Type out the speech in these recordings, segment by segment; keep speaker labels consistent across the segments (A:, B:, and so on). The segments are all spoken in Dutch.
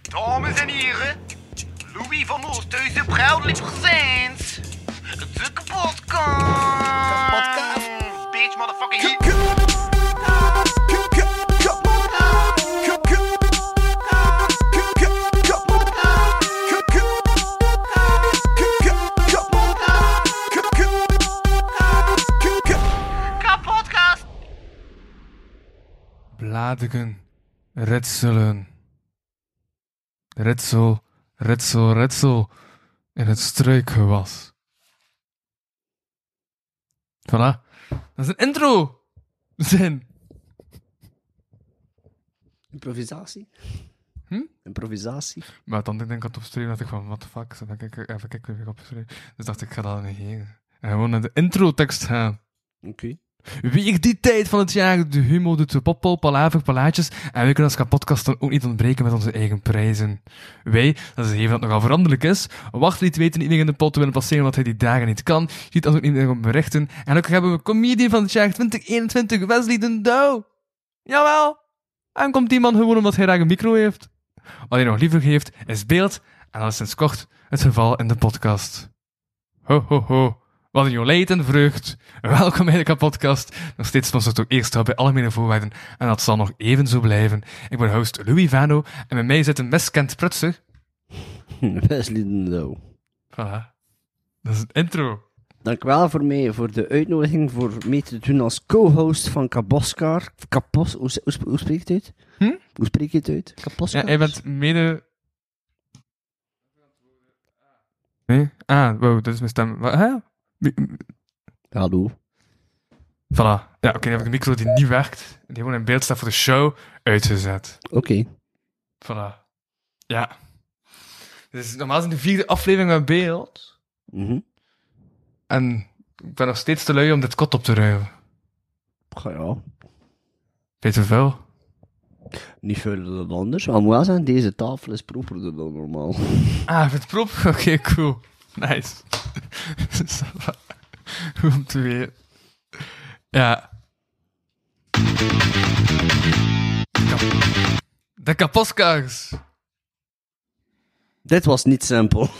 A: Dames en heren, Louis van Oosthuizen, proudly presents de kapotkast.
B: Kapotkast.
A: Bitch, motherfucking hit. Kapotkast.
C: Bladeren, ritselen. Ritsel, ritsel, ritsel in het struikgewas. Voilà, dat is een intro. Zin.
B: Improvisatie.
C: Hm?
B: Improvisatie.
C: Maar dan denk ik dat op stream dacht ik van, what the fuck, zat ik even even kijken weer op stream. Dus dacht ik, ik ga dat negeren. En gewoon naar de introtekst gaan.
B: Oké.
C: Wie ik die tijd van het jaar de humo doet, de poppel, palaver, palaatjes. En we kunnen als kapotcast dan ook niet ontbreken met onze eigen prijzen. Wij, dat is een gegeven dat nogal veranderlijk is, wachten niet weten niet meer in de pot te willen passeren omdat hij die dagen niet kan, ziet als ook niet meer op berichten. En ook hebben we comedian van het jaar 2021, Wesley den Douw. Jawel! En komt die man gewoon omdat hij graag een micro heeft. Wat hij nog liever heeft, is beeld. En dat is sinds kort het geval in de podcast. Ho, ho, ho. Wat een joleet en vreugd. Welkom bij de podcast. Nog steeds sponsort ook eerst wel bij algemene voorwaarden. En dat zal nog even zo blijven. Ik ben host Louis Vano. En bij mij zit een best Kent Prutser.
B: Wesley de Nauw.
C: Voilà. Dat is een intro.
B: Dankjewel voor, mij, voor de uitnodiging voor mee te doen als co-host van Kaboskar. Kapos, hoe, hoe, hoe spreek je het uit?
C: Hm?
B: Hoe spreek je het uit? Kaboskar?
C: Ja, jij bent mede... Nee? Ah, wow, dat is mijn stem. Wat, hè? Mi-
B: Hallo.
C: Voilà. Ja, oké, dan heb ik een micro die niet werkt. Die gewoon in beeld staat voor de show. Uitgezet.
B: Oké.
C: Voilà. Ja. Dus normaal is het de vierde aflevering met beeld.
B: Mhm.
C: En ik ben nog steeds te lui om dit kot op te ruimen.
B: Ga Ja,
C: Peter Vuil.
B: niet veel dan anders. Maar ik moet wel zeggen, deze tafel is properder dan normaal.
C: Ah, vindt het prop? Oké, cool. Nice. Ça va. Goed om te weten. Ja. Kap- De kaposkars.
B: Dit was niet simpel.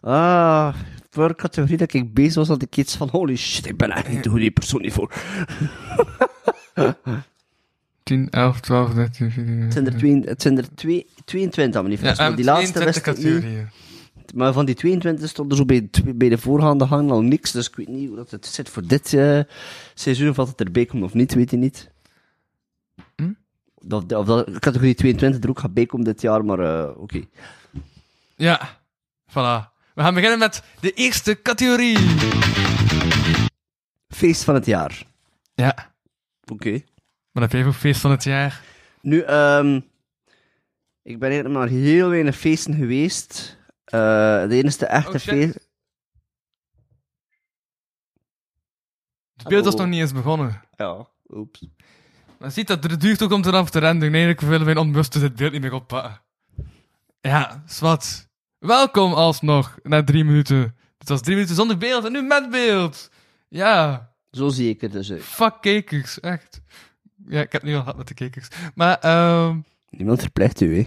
B: ah, voor categorie dat ik bezig was, had ik iets van: holy shit, ik ben echt niet de goede persoon hiervoor.
C: 10, 11, 12, 13, 14.
B: Het zijn er, twee, het zijn er twee, 22, meneer
C: Ja, eh,
B: Frans, maar Dus die laatste wist ik niet.
C: categorieën.
B: Maar van die 22 stond er zo bij, de- bij de voorgaande gang al niks. Dus ik weet niet hoe dat het zit voor dit eh, seizoen. Of dat het erbij komt of niet, weet je niet.
C: Hm?
B: Of, of dat categorie 22 er ook gaat bij komen dit jaar, maar eh, oké.
C: Ja, voilà. We gaan beginnen met de eerste categorie.
B: Feest van het jaar.
C: Ja,
B: Oké.
C: wat heb jij voor feest van het jaar?
B: Nu, ehm, ik ben eigenlijk maar heel weinig feesten geweest. Eh, de enige echte
C: Oh, shit.
B: feest...
C: Het beeld was
B: Hallo.
C: nog niet eens begonnen.
B: Ja, oeps.
C: Maar ziet dat het duurt ook om eraf te renderen. Eigenlijk willen wij onbewust dus het beeld niet meer oppakken. Ja, zwart. Welkom alsnog na drie minuten. Het was drie minuten zonder beeld en nu met beeld. Ja,
B: Zo zie ik het dus uit.
C: fuck kijkers, echt. Ja, ik heb het nu al gehad met de kijkers. Maar, ehm.
B: Niemand verplicht u, hè.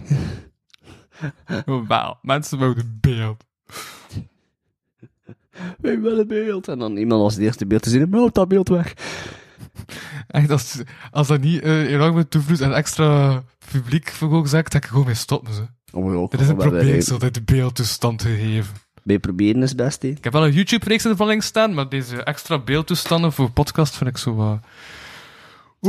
C: oh, Wauw, mensen wouden beeld.
B: Wij willen beeld. En dan iemand als het eerste beeld te zien. Maar houd dat beeld weg.
C: Echt, als, als dat niet eh enorme toevloed en extra publiek veroorzaakt, dat ik gewoon mee stoppen. Ze.
B: Oh, ja,
C: Er is een
B: wel weer
C: probeersel uit de beeldtoestand te geven.
B: een- Bij proberen is het best, hè.
C: Ik heb wel een YouTube-reeks in de verlenging staan, maar deze extra beeldtoestanden voor podcast vind ik zo eh,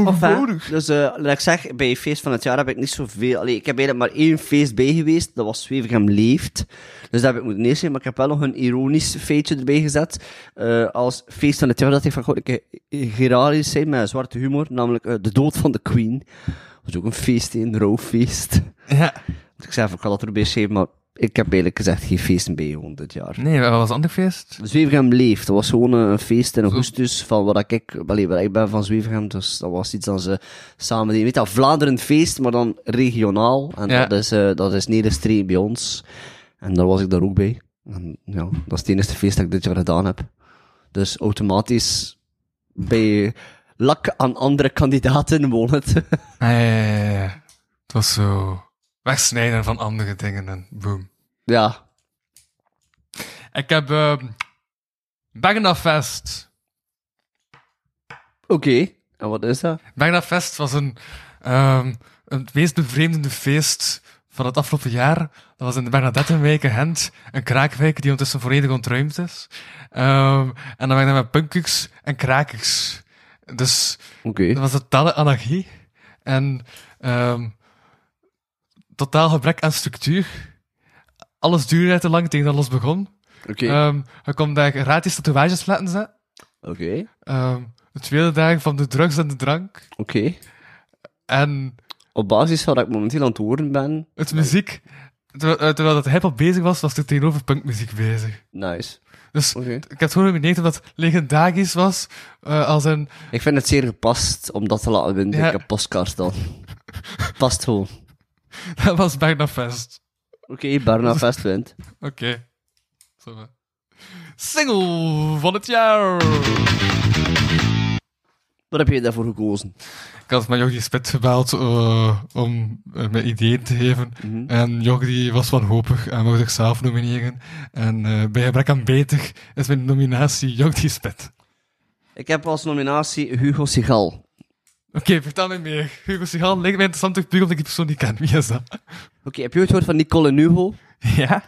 C: wat...
B: Enfin, dus eh, laat ik zeggen, bij feest van het jaar heb ik niet zoveel... Allee, ik heb eigenlijk maar één feest bij geweest, dat was Zwevegem Leeft. Dus dat heb ik moeten neerzetten, maar ik heb wel nog een ironisch feitje erbij gezet. eh, als feest van het jaar, dat ik van, god, ik geralisch zijn met zwarte humor, namelijk eh, de dood van de Queen. Dat was ook een feest, hè, een rouwfeest.
C: Ja.
B: Dus ik zei van, ik ga dat erbij schrijven, maar ik heb eigenlijk gezegd geen feesten bij gewoon dit jaar.
C: Nee, wat was een ander feest?
B: Zwevegem leeft. Dat was gewoon een feest in augustus van wat ik, allee, waar ik ben van Zwevegem. Dus dat was iets dat ze samen deden. Weet dat, Vlaanderen feest, maar dan regionaal. En
C: Ja.
B: dat is, eh dat is Nederstreek bij ons. En daar was ik daar ook bij. En ja, dat is het enige feest dat ik dit jaar gedaan heb. Dus automatisch bij lak aan andere kandidaten wonen.
C: Ah, ja, ja, ja, ja. Het was zo wegsnijden van andere dingen en boom.
B: Ja.
C: Ik heb ehm Bagna Fest.
B: Oké. En wat is dat?
C: Bagna Fest was een, ehm het meest bevreemdende feest van het afgelopen jaar. Dat was in de Bernadettenwijk in Gent, een kraakwijk die ondertussen volledig ontruimd is. Ehm, en dan ben ik daar met punkers en krakers. Dus
B: Oké.
C: dat was totale anarchie. En ehm, totaal gebrek aan structuur. Alles duurde te lang tegen dat los begon.
B: Oké.
C: Ehm je kon daar gratis tatoeages laten zetten.
B: Oké.
C: Ehm, de tweede dag van de drugs en de drank.
B: Oké.
C: En
B: Op basis van dat ik momenteel aan het horen ben.
C: het muziek. Terwijl, eh, terwijl dat hip-hop bezig was, was er tegenover punkmuziek bezig.
B: Nice.
C: Dus
B: Oké.
C: ik heb het gewoon beneden dat het legendarisch was. eh, als een,
B: Ik vind het zeer gepast om dat te laten winnen.
C: Ja.
B: Ik heb postkaart dan. Past gewoon. Oké,
C: dat was bijna fest.
B: Barna Fest wint.
C: Oké. Zo maar. Single van het jaar!
B: Wat heb je daarvoor gekozen?
C: Ik had met Jordi Spit gebeld eh, om eh, mijn ideeën te geven.
B: Mhm.
C: En Jordi was wanhopig en wou zichzelf nomineren. En eh, bij gebrek aan beter is mijn nominatie Jordi Spit.
B: Ik heb als nominatie Hugo Sigal.
C: Oké, vertel me meer. Hugo Sigal lijkt mij interessant puur omdat ik die persoon niet ken. Wie is dat?
B: Oké, heb je ooit gehoord van Nicole Nuho?
C: Ja?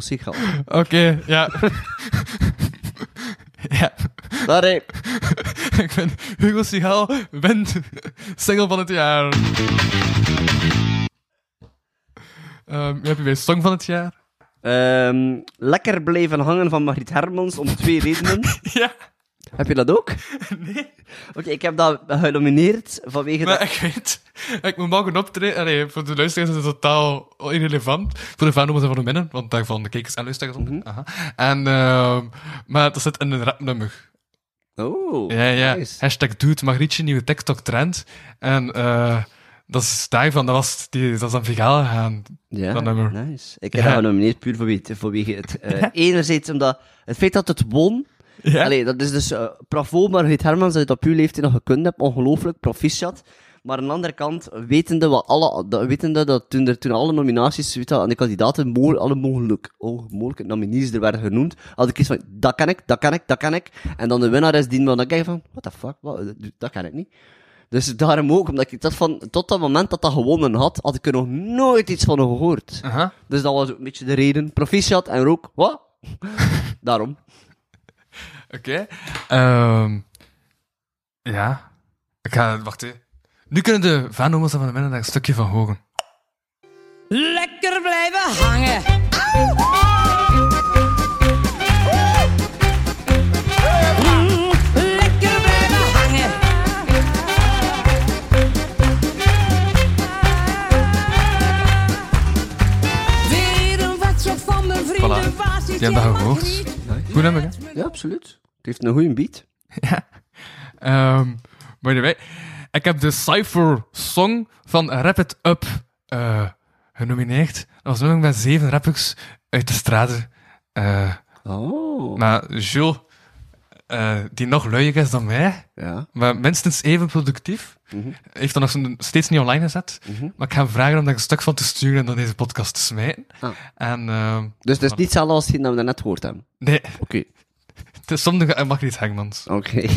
B: Sigal.
C: Oké, ja. ja,
B: Daar, hè.
C: ik ben Hugo Sigal wint single van het jaar. Ehm, wie heb je bij Song van het jaar?
B: Ehm, lekker blijven hangen van Margriet Hermans om twee redenen.
C: Ja,
B: heb je dat ook?
C: nee.
B: Oké, ik heb dat genomineerd vanwege
C: Maar
B: dat...
C: ik weet, ik moet morgen optreden. Nee, voor de luisteraars is het totaal irrelevant. Voor de fandoms en voor de minnen, want daarvan de kijkers en luisteraars. onder. Aha. En, ehm, maar dat zit in een rapnummer.
B: Oh,
C: Ja, ja.
B: nice.
C: Hashtag dude, Magrietje, nieuwe TikTok-trend. En eh, dat is daarvan, dat, was die, dat is aan Vigaal gegaan.
B: Ja,
C: dat nummer.
B: nice. Ik heb
C: Ja.
B: dat genomineerd puur vanwege, vanwege het... eh, Enerzijds omdat het feit dat het won...
C: Ja.
B: Allee, dat is dus... eh bravo, Margriet Hermans, dat je dat op uw leeftijd nog gekund hebt. Ongelooflijk, proficiat. Maar aan de andere kant, wetende, wat alle, dat, wetende dat toen, er, toen alle nominaties weet je wel, en de kandidaten, mo- alle mogelijk, oh, mogelijke nominees er werden genoemd, had ik iets van, dat kan ik, dat kan ik, dat kan ik. En dan de winnaar is die, maar dan kijk je van, what the fuck, wat, dat- dat kan ik niet. Dus daarom ook, omdat ik dat van, tot dat moment dat dat gewonnen had, had ik er nog nooit iets van gehoord.
C: Aha.
B: Dus dat was ook een beetje de reden. Proficiat en rook, wat? daarom.
C: Oké. Ehm, ja. Ik ga, wacht even. Nu kunnen de fandoms en van de minnen daar een stukje van horen.
D: Lekker blijven hangen. Mm, Lekker blijven hangen. Weer een watje van mijn vrienden.
C: Voilà.
D: Waar zit
C: Die hebben
D: jij,
C: dat gehoord.
D: Margriet?
C: Goed nummer, hè?
B: Ja, absoluut. Het heeft een goede beat.
C: Ehm by the way, ik heb de Cypher Song van Rap It Up eh, genomineerd. Dat was een nummer met zeven rappers uit de straten. Eh,
B: Oh.
C: maar Jules, eh, die nog luier is dan mij,
B: Ja.
C: maar minstens even productief,
B: Mhm.
C: heeft dat nog zo'n- steeds niet online gezet. Maar ik ga hem vragen om daar een stuk van te sturen en dan deze podcast te smijten.
B: Ah.
C: En, ehm,
B: Dus het is niet hetzelfde als hetgeen dat we daarnet gehoord hebben.
C: nee,
B: Oké.
C: het is sommige en Margriet Hengmans.
B: Oké.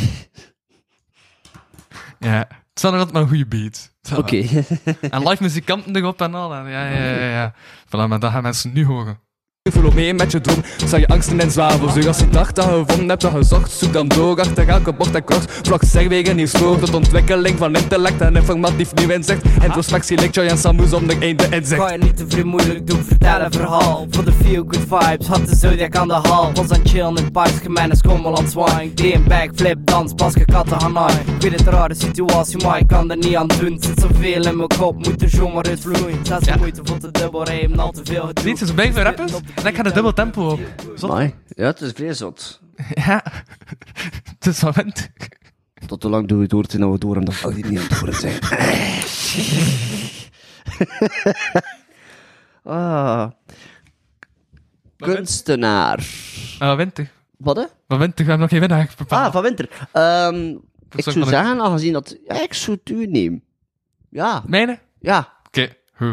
C: Ja. Het staat nog altijd maar een goede beat. Voilà.
B: Oké.
C: En live muzikanten erop en al. En ja, ja, ja, ja. Voilà, maar dat gaan mensen nu horen.
E: Voel op mee met je droom, zal je angsten en zwavel Zoek als je dacht dat je gevonden hebt dat je zocht Zoek dan door achter elke bocht en kort Vlak zegwegen hier spoor tot ontwikkeling van intellect En informatief nieuw inzicht Introspectie lijkt jou en Samus om de einde inzicht
F: Kan je niet te veel moeilijk doen, vertel een verhaal. Voor de feel good vibes, had de zodiac aan de hal. Was aan chill in het park, gemenes schommel aan zwang. Die een backflip, dans, pas katten Hanoi. Ik weet het rare situatie, maar ik kan er niet aan doen. Zit zoveel in mijn kop, moet er zomaar uit vloeien. Zes de moeite voor de dubbel rijm, al te veel gedoe.
C: Dit is bij voor rappers en ik ga de dubbel tempo op. Zot.
B: Amai. Ja, het is vrij zot.
C: Ja. Het is van wind.
B: Tot hoe lang doen we het door te nou we door en dat we hier niet aan het horen zijn. ah. Kunstenaar.
C: Ah, winter.
B: Wat hè?
C: Maar winter, we hebben nog geen winnaar bepaald.
B: Ah, van winter. Ehm,
C: zou
B: ik zou
C: ik wel
B: zeggen, aangezien dat... Ja, ik zou het u nemen. Ja,
C: Mijne?
B: ja.
C: Oké. Huh.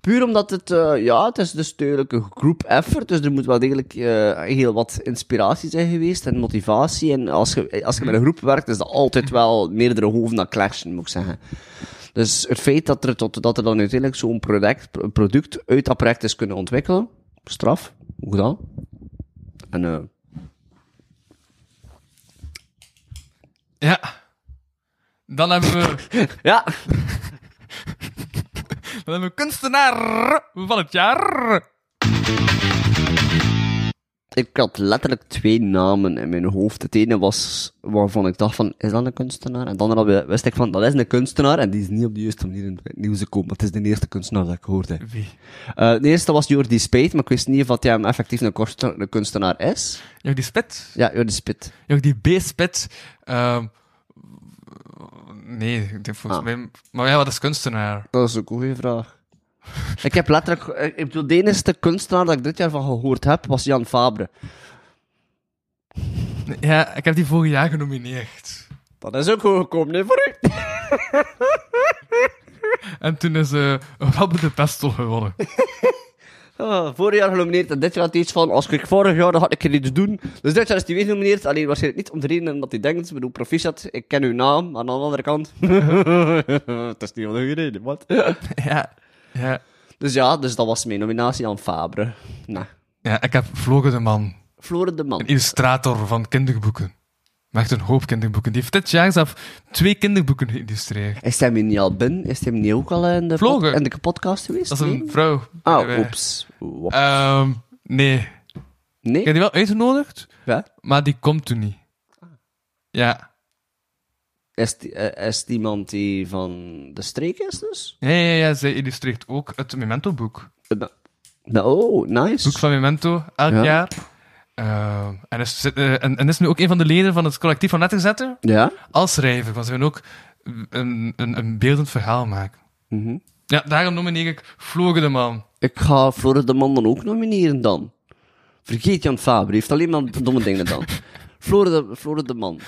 B: Puur omdat het, eh, ja, het is dus duidelijk een groep effort, dus er moet wel degelijk eh, heel wat inspiratie zijn geweest en motivatie. En als je, als je met een groep werkt, is dat altijd wel meerdere hoofden dat clashen, moet ik zeggen. Dus het feit dat er, tot, dat er dan uiteindelijk zo'n product, product uit dat project is kunnen ontwikkelen, straf, hoe dan? En eh,
C: Ja. Dan hebben we,
B: ja,
C: dan hebben we kunstenaar van het jaar.
B: ik had letterlijk twee namen in mijn hoofd. Het ene was waarvan ik dacht van, is dat een kunstenaar? En dan andere wist ik van, dat is een kunstenaar en die is niet op de juiste manier in het nieuws gekomen. want Het is de eerste kunstenaar dat ik hoorde.
C: Wie?
B: Eh, de eerste was Jordi Spit, maar ik wist niet of dat hij hem effectief een, korte- een kunstenaar is.
C: Jok die spit.
B: Ja, Jordi Spit.
C: Jok die B-spit. Ehm, nee, ik denk volgens
B: Ah.
C: mij... Maar ja, wat is kunstenaar?
B: Dat is ook een goede vraag. ik heb letterlijk... eh, Ik bedoel, de enige kunstenaar dat ik dit jaar van gehoord heb, was Jan Fabre.
C: Ja, ik heb die vorig jaar genomineerd.
B: Dat is ook goed gekomen, hè, voor u?
C: En toen is eh Rabbe de Pestel gewonnen.
B: Ah, vorig jaar genomineerd en dit jaar had hij iets van, als ik vorig jaar, dan had ik er iets doen. Dus dit jaar is hij weer genomineerd, alleen waarschijnlijk niet om de reden dat hij denkt. Ik bedoel, proficiat, ik ken uw naam, maar aan de andere kant... Het is niet om de reden, wat?
C: ja. ja.
B: dus ja, dus dat was mijn nominatie aan Fabre. Nou,
C: Ja, ik heb Vlogen de Man.
B: Floren de Man.
C: Een illustrator van kinderboeken. Maar echt een hoop kinderboeken. Die heeft dit jaar zelf twee kinderboeken geïllustreerd.
B: Is hij me niet al binnen? Is hij me niet ook al in de,
C: Vlogen.
B: pod- in de podcast geweest?
C: Dat is een
B: Nee?
C: vrouw.
B: Ah,
C: Eh,
B: oeps. Wop.
C: ehm, nee. Ik
B: Nee?
C: heb die wel uitgenodigd,
B: Ja?
C: maar die komt toen niet. Ja.
B: Is, die, eh, is het iemand die van de streek is dus?
C: Ja, ja, ja, zij illustreert ook het Memento-boek.
B: Eh, nou- nou, oh,
C: boek
B: nice.
C: van Memento, elk
B: Ja.
C: jaar. Ehm, en, is, zit, eh, en, en is nu ook een van de leden van het collectief van Letterzetter
B: Ja?
C: als schrijver. Want ze willen ook een, een, een beeldend verhaal maken.
B: Mhm.
C: Ja, daarom nomineer ik Vlogen de Man.
B: Ik ga Flore de Man dan ook nomineren dan. Vergeet Jan Faber, die heeft alleen maar domme dingen dan. Flore de, Flore de Man.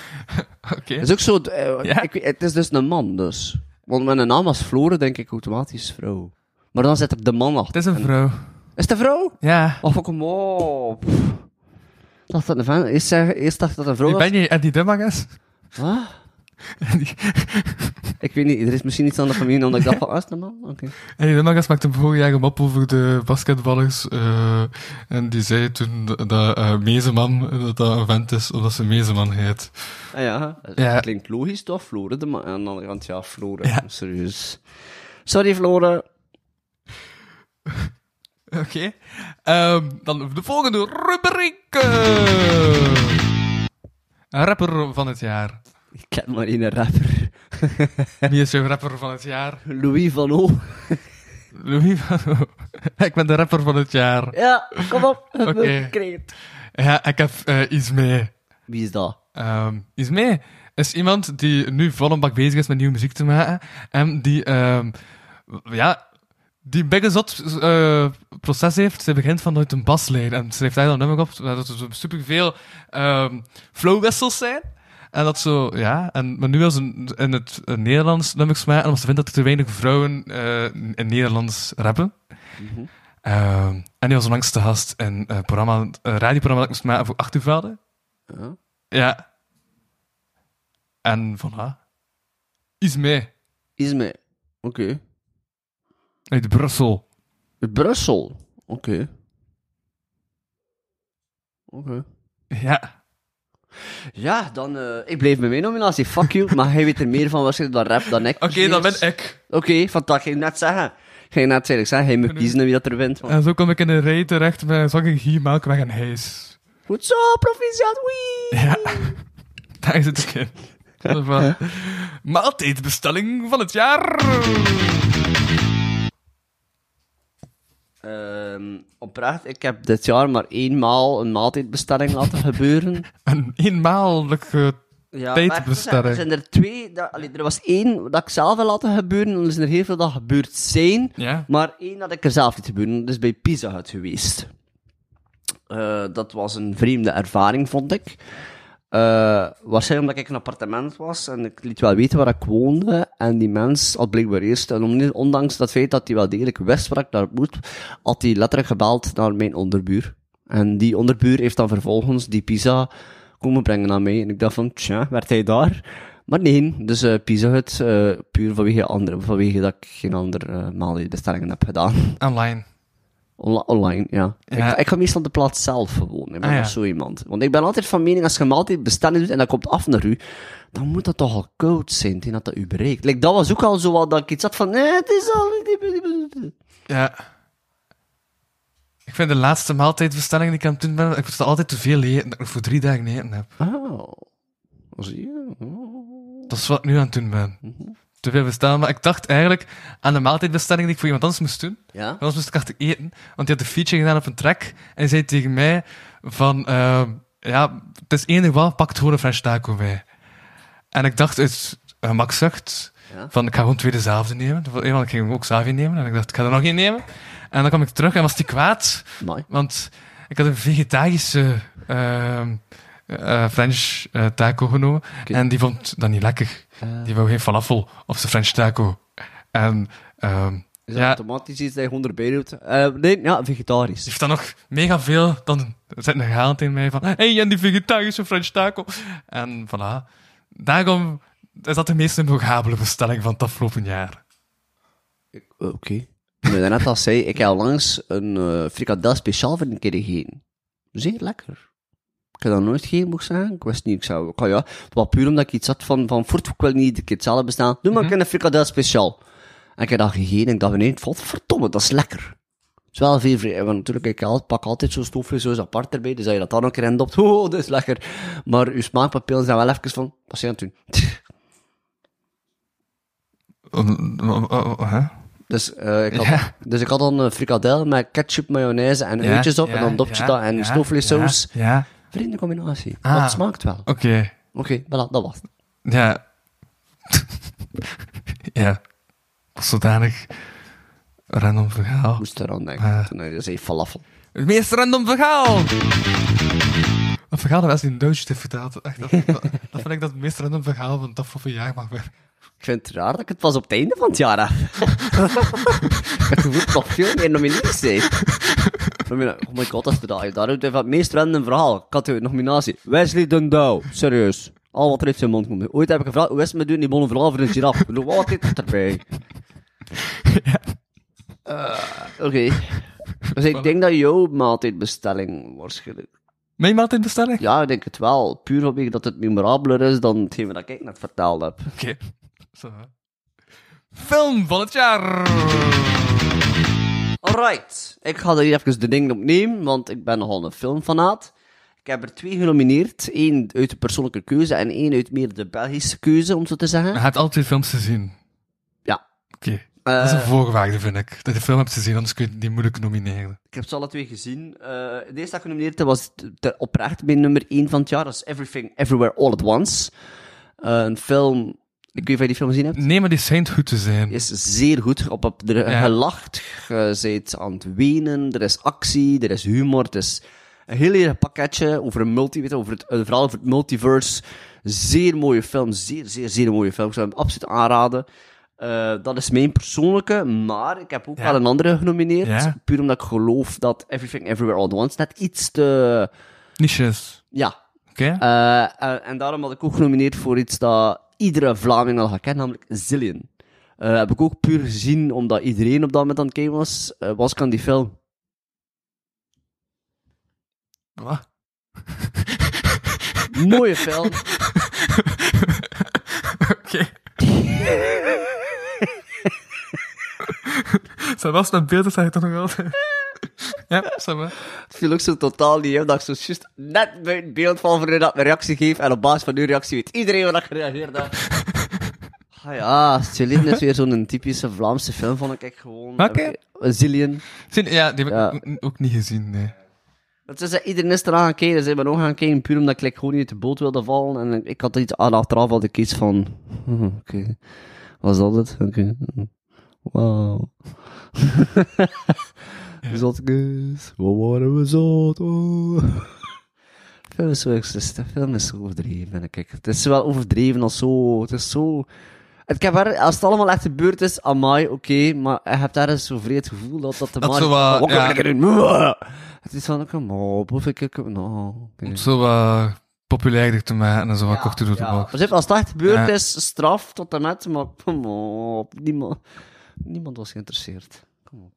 C: Oké.
B: is ook zo... eh,
C: Ja?
B: ik weet- het is dus een man, dus. Want met een naam als Flore denk ik automatisch vrouw. Maar dan zet ik de man achter.
C: Het is een vrouw.
B: Is het een vrouw?
C: Ja.
B: Oh, kom op. Ik Dacht dat een vent, eerst, zeg- eerst dacht ik dat een vrouw
C: Wie
B: was.
C: ben je? Eddie Dummagas?
B: Wat? ik weet niet, er is misschien iets aan de familie, omdat ik dacht van, ah, is het een man? Oké.
C: Eddie Dummagas maakte vorig jaar een mop over de basketballers. eh, en die zei toen dat eh, Mezeman dat dat een vent is, omdat ze Mezeman heet.
B: Ah ja, dat
C: Ja.
B: klinkt logisch toch, Flore? De man. Aan de andere kant, ja, Flore,
C: Ja.
B: serieus. Sorry, Flore.
C: Oké. Ehm, dan de volgende rubriek. eh. Rapper van het jaar.
B: Ik ken maar één rapper.
C: Wie is jouw rapper van het jaar?
B: Louis van O.
C: Louis van... ik ben de rapper van het jaar.
B: Ja, kom op.
C: Oké.
B: Kreet.
C: Ja, ik heb eh, iets mee.
B: Wie is dat?
C: Ehm, is mee. Is iemand die nu vol een bak bezig is met nieuwe muziek te maken. En die, ehm, w- ja, die begezot eh proces heeft. Ze begint vanuit een baslijn. En schrijft daar dan nummer op. Dat er zo superveel ehm flowwissels zijn. En dat zo, ja. En, maar nu wil ze een- in het eh, Nederlands nummers maken. Omdat ze vindt dat er te weinig vrouwen eh, in Nederlands rappen. Ehm, en die was onlangs te gast in een programma, een radioprogramma dat ik moest maken voor Achtervelden.
B: Ja.
C: Ja. En voilà. Is mee.
B: Isme. Oké.
C: Uit Brussel.
B: Brussel. Oké. Oké.
C: Ja.
B: Ja, dan... eh, ik bleef bij mijn nominatie. Fuck you. maar hij weet er meer van waarschijnlijk dan rap dan ik. Dus
C: Oké, dan ben ik.
B: Oké, fantastisch. Ging net zeggen. Ging net zeggen. Ik zei, hij moet kiezen wie dat er wint.
C: En zo kom ik in een rij terecht met zakken Guy, Melkweg en Hees.
B: Goed zo, proficiat. Wee.
C: Ja. Daar zit ik in. Dat is waar. Maaltijdbestelling van het jaar.
B: Ehm, oprecht, ik heb dit jaar maar eenmaal een maaltijdbestelling laten gebeuren.
C: Een eenmalige...
B: Ja,
C: Tijd
B: maar er zijn-
C: besterren.
B: Er zijn er twee. Dat, allee, er was één dat ik zelf wil laten gebeuren. en Er zijn er heel veel dat gebeurd zijn.
C: Ja.
B: Maar één dat ik er zelf liet gebeuren. Dat is bij Pizza Hut geweest. Eh, dat was een vreemde ervaring, vond ik. Eh, Eh, waarschijnlijk omdat ik in een appartement was en ik liet wel weten waar ik woonde. En die mens had blijkbaar eerst, en om- ondanks dat feit dat hij wel degelijk wist waar ik naar moest, had hij letterlijk gebeld naar mijn onderbuur. En die onderbuur heeft dan vervolgens die pizza komen brengen aan mij. En ik dacht van, tja, werd hij daar? Maar nee, dus eh Pizza Hut, eh, puur vanwege, andere, vanwege dat ik geen andere uh, maalbestellingen heb gedaan.
C: Online.
B: Onla- online, ja.
C: Ja.
B: Ik, ik ga meestal de plaats zelf gewoon. Ik ben
C: Ah, ja.
B: nog zo iemand. Want ik ben altijd van mening, als je een maaltijd bestellen doet en dat komt af naar u, dan moet dat toch al koud zijn, tegen dat dat u bereikt. Like, dat was ook al zo wat dat ik iets had van, nee, het is al...
C: Ja. Ik vind de laatste maaltijdbestelling die ik aan het doen ben, ik moest altijd te veel eten, dat ik nog voor drie dagen eten heb.
B: Oh, zie je? Oh.
C: Dat is wat ik nu aan het doen ben. Te veel bestellen, maar ik dacht eigenlijk aan de maaltijdbestelling die ik voor iemand anders moest doen.
B: Ja?
C: Anders moest ik achter eten, want die had een feature gedaan op een track en hij zei tegen mij van, ehm, ja, het is enig wat, pak het gewoon een fresh taco bij. En ik dacht uit gemakzucht,
B: Ja.
C: van ik ga gewoon twee dezelfde nemen. Eenmaal, ik ging ook Xavi nemen en ik dacht, ik ga er nog één nemen. En dan kwam ik terug en was die kwaad.
B: Amai.
C: Want ik had een vegetarische ehm, eh, French eh, taco genomen. En die vond dat niet lekker.
B: Ah.
C: Die wou geen falafel op zijn French taco. En ehm,
B: Is
C: ja,
B: dat
C: die
B: automatisch iets dat je onder bij doet? Eh, nee, ja, vegetarisch.
C: heeft dan nog mega veel. Dan zit een gehaald in mij van: hé, hey, en die vegetarische French taco. En voilà. Daarom is dat de meest memorabele bestelling van het afgelopen jaar.
B: Oké. Maar daarnet al zei, ik heb langs een eh, frikandel speciaal voor een keer gegeten. Zeer lekker. Ik heb dat nooit geen mocht zeggen. Ik wist niet, ik zou... Ik, had- ja, het was puur omdat ik iets had van, van voort, ik wil niet de keer hetzelfde bestaan. Doe maar een keer een frikandel speciaal. En ik heb dat gegeten en ik dacht, nee, het valt verdomme, dat is lekker. Het is wel veel vrij, want natuurlijk, ik al- pak altijd zo'n stoofje zo apart erbij, dus als je dat dan ook erin dopt, oh, dat is lekker. Maar uw smaakpapillen zijn wel even van, wat zijn toen? Dus, eh, ik had,
C: Ja.
B: dus ik had dan een frikadel met ketchup, mayonaise en uitjes op. en dan dopt je dat en snowflake-saus.
C: Ja. ja.
B: Vreemde combinatie.
C: Ah.
B: Dat smaakt wel. Oké,
C: Oké.
B: voilà, dat was het.
C: Ja. ja. Als zodanig random verhaal.
B: Ik moest eraan denken.
C: Ah.
B: Toen hij zei falafel.
C: Het meest random verhaal! Een verhaal dat Wesley een doosje heeft verteld. Echt, dat, dat, dat vind ik dat het meest random verhaal van het afgelopen jaar mag weer.
B: Ik vind het raar dat ik het pas op het einde van het jaar heb. ik voel nog veel meer nominaties zijn. Van mij, Oh my god, dat is de dag. Daar doet hij van het meest random verhaal. Ik had uw nominatie. Wesley Dundau. Serieus. Al wat er heeft zijn mond komt. Ooit heb ik gevraagd, hoe is het met doen die bonnen verhaal voor een giraf? Ik bedoel, wat zit erbij? Eh, Oké. Dus ik denk dat jouw maaltijdbestelling waarschijnlijk...
C: Mijn maaltijdbestelling?
B: Ja, ik denk het wel. Puur vanwege dat het memorabeler is dan hetgeen wat ik net verteld heb.
C: Oké. Zo, hè. Film van het jaar!
B: Alright, ik ga er hier even de dingen opnemen, want ik ben nogal een filmfanaat. Ik heb er twee genomineerd. Eén uit de persoonlijke keuze en één uit meer de Belgische keuze, om zo te
C: Je
B: zeggen.
C: hebt al twee films gezien.
B: Ja.
C: Oké.
B: Eh,
C: Dat is een voorwaarde, vind ik. Dat je de film hebt gezien, anders kun je die moeilijk nomineren.
B: ik heb ze alle twee gezien. Eh de eerste dat genomineerd heb, was t- ter- oprecht mijn nummer één van het jaar. Dat is Everything, Everywhere, All at Once. Eh, een film... Ik weet niet of je die film gezien hebt.
C: Nee, maar die schijnt goed te zijn.
B: is zeer goed. Op, op, er
C: Ja.
B: gelacht, je zijt aan het wenen, er is actie, er is humor, het is een heel erg pakketje over een multi, weet je, over het, een verhaal over het multiverse. Zeer mooie film, zeer, zeer, zeer mooie film. Ik zou hem absoluut aanraden. Eh, dat is mijn persoonlijke, maar ik heb ook
C: Ja.
B: wel een andere genomineerd.
C: Ja.
B: Puur omdat ik geloof dat Everything Everywhere All at Once net iets te...
C: Niches.
B: Ja,
C: Oké.
B: eh, en, en daarom had ik ook genomineerd voor iets dat iedere Vlaming al gaat kennen, namelijk Zillion. Eh, heb ik ook puur gezien omdat iedereen op dat moment aan het kijken was. Eh, was ik aan die film?
C: Wat?
B: Mooie film.
C: Oké. Zij was naar beeld, zei ik toch nog altijd. ja, zeg maar.
B: Het viel ook zo totaal niet in, dat ik zo juist net buiten beeld val voor dat ik mijn reactie geef. En op basis van uw reactie weet iedereen wat ik gereageerd heb. Ah ja, Zillion is weer zo'n typische Vlaamse film, vond ik gewoon.
C: Welke?
B: Zillion.
C: Zin- Ja, die heb
B: Ja.
C: ik ook- ook niet gezien, nee.
B: Dat is, eh, iedereen is eraan gaan kijken. Ze hebben ook gaan kijken puur omdat ik like, gewoon niet uit de boot wilde vallen. En ik, ik had iets aan achteraf had ik iets van... hm, Oké, was dat het? Oké. hm, Wauw. Zotkus, waar waren we zot? Oh. Film is zo existen. Film is zo overdreven, vind ik. Het is wel overdreven als zo. Het is zo. Ik heb er, als het allemaal echt gebeurd is, amai, oké, maar je hebt daar eens zo vreed gevoel dat dat de
G: Dat
B: man...
G: zo wat,
B: Wat kan
G: ja.
B: ik erin? Mwah! Het is van, kom op, of ik... ik nou, oké.
C: Om zo wat populairder te maken en zo wat korter door de
B: Ja,
C: bocht.
B: dus als dat echt gebeurd
C: Ja.
B: is, straf tot en met, maar kom op, niemand, niemand was geïnteresseerd. Kom op.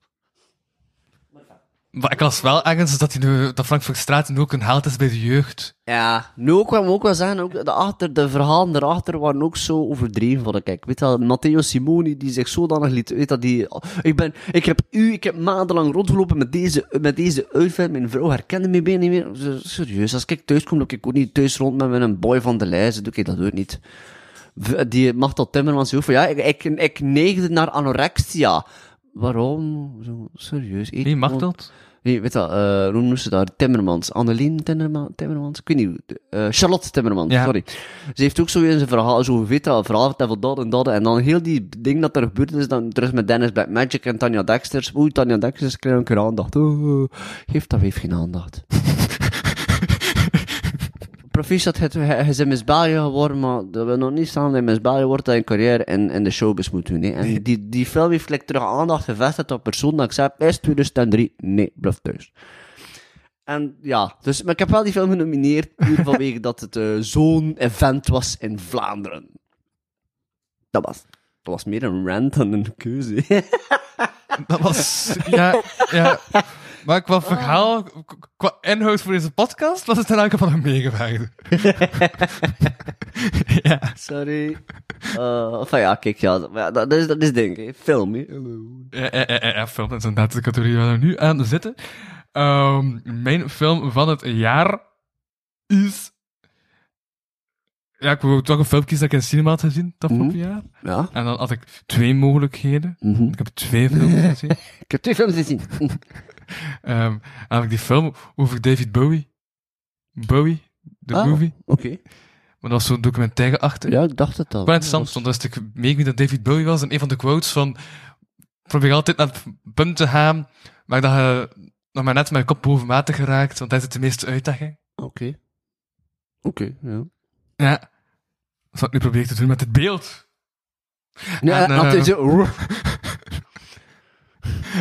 C: Maar ik las wel ergens dat, die nu, dat Frankfurtstraat nu ook een held is bij de jeugd.
B: Ja, nu ook, wat we ook wel zeggen, ook de, achter, de verhalen erachter waren ook zo overdreven van kijk. Weet dat Matteo Simoni die zich zodanig liet, weet dat die, ik ben, ik heb u, ik heb maandenlang rondgelopen met deze, met deze uitvent, mijn vrouw herkende mij bijna niet meer. Ze- Serieus, als ik thuis kom, loop ik ook niet thuis rond met een boy van de lijst, doe ik dat ook niet. V- Die mag dat Timmermans ook van, ja, ik, ik, ik neigde naar anorexia. Waarom? Zo, serieus. eet
C: Wie mag
B: gewoon-
C: dat?
B: Nee, weet dat, eh, hoe noemen ze daar? Timmermans. Annelien Timmerma- Timmermans? Ik weet niet. hoe- eh, Charlotte Timmermans,
C: Ja.
B: sorry. Ze heeft ook zo in zijn verhaal, zo weet dat, verhaal verteld dat en dat. En dan heel die ding dat er gebeurd is, dan terug met Dennis Black Magic en Tanja Dexters. Oeh, Tanja Dexters krijgt een keer aandacht. Oh, geeft dat heeft geen aandacht. Proficiat, het- hij hij is in Miss België geworden, maar dat wil nog niet staan dat in Miss België wordt dat hij een carrière in, in de showbiz moet doen. Hè. En die, die film heeft like, terug aandacht gevestigd op persoon dat ik zei, is 2003, nee, blijf thuis. En ja, dus, maar ik heb wel die film genomineerd, puur vanwege dat het eh, zo'n event was in Vlaanderen. Dat was, dat was meer een rant dan een keuze. hè.
C: Dat was... Ja, ja. Maar qua verhaal, k- qua inhoud voor deze podcast, was het in elk geval een meegewaagde. ja.
B: Sorry. Eh, enfin ja, kijk, ja, dat, maar ja, dat, dat is, dat is denk ik, film. hè.
C: Ja, ja, ja, ja, ja, film dat is eh, inderdaad de categorie waar we nu aan zitten. Ehm, mijn film van het jaar is... Ja, ik wil toch een film kiezen dat ik in de cinema had gezien, dat
B: Mhm.
C: afgelopen jaar.
B: Ja.
C: En dan had ik twee mogelijkheden.
B: Mhm.
C: Ik heb twee films gezien.
B: Ik heb twee films gezien.
C: Ehm, en dan had ik die film over David Bowie. Bowie, de
B: Ah.
C: movie.
B: Oké.
C: Maar dat was zo'n documentaire achter.
B: Ja, ik dacht het al.
C: Wel interessant, want als ik mee wie dat David Bowie was en een van de quotes van probeer altijd naar het punt te gaan, maar dat je nog maar net met je kop boven water geraakt, want dat is de meeste uitdaging.
B: Oké. Oké, ja.
C: Ja. Dat is wat ik nu probeer te doen met het beeld.
B: Ja,
C: En, eh,
B: altijd zo...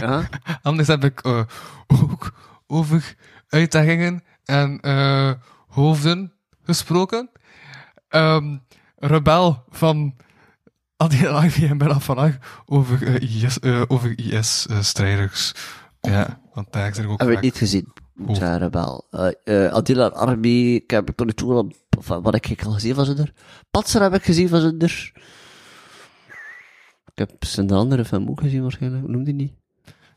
B: ja.
C: Anders heb ik eh, ook over uitdagingen en eh, hoofden gesproken. Ehm, rebel van Adi Alive en Bella van Ag over eh, IS, eh, over IS-strijders. ja, want daar zijn er ook
B: Heb ik
C: vaak-
B: niet gezien. Ja, Rebel. Eh, eh, Adila Army, ik heb tot nu toe al... of, eh, Wat heb ik al gezien van ze er? Patser heb ik gezien van ze er. Ik heb zijn andere film ook gezien waarschijnlijk. Hoe noemde die niet?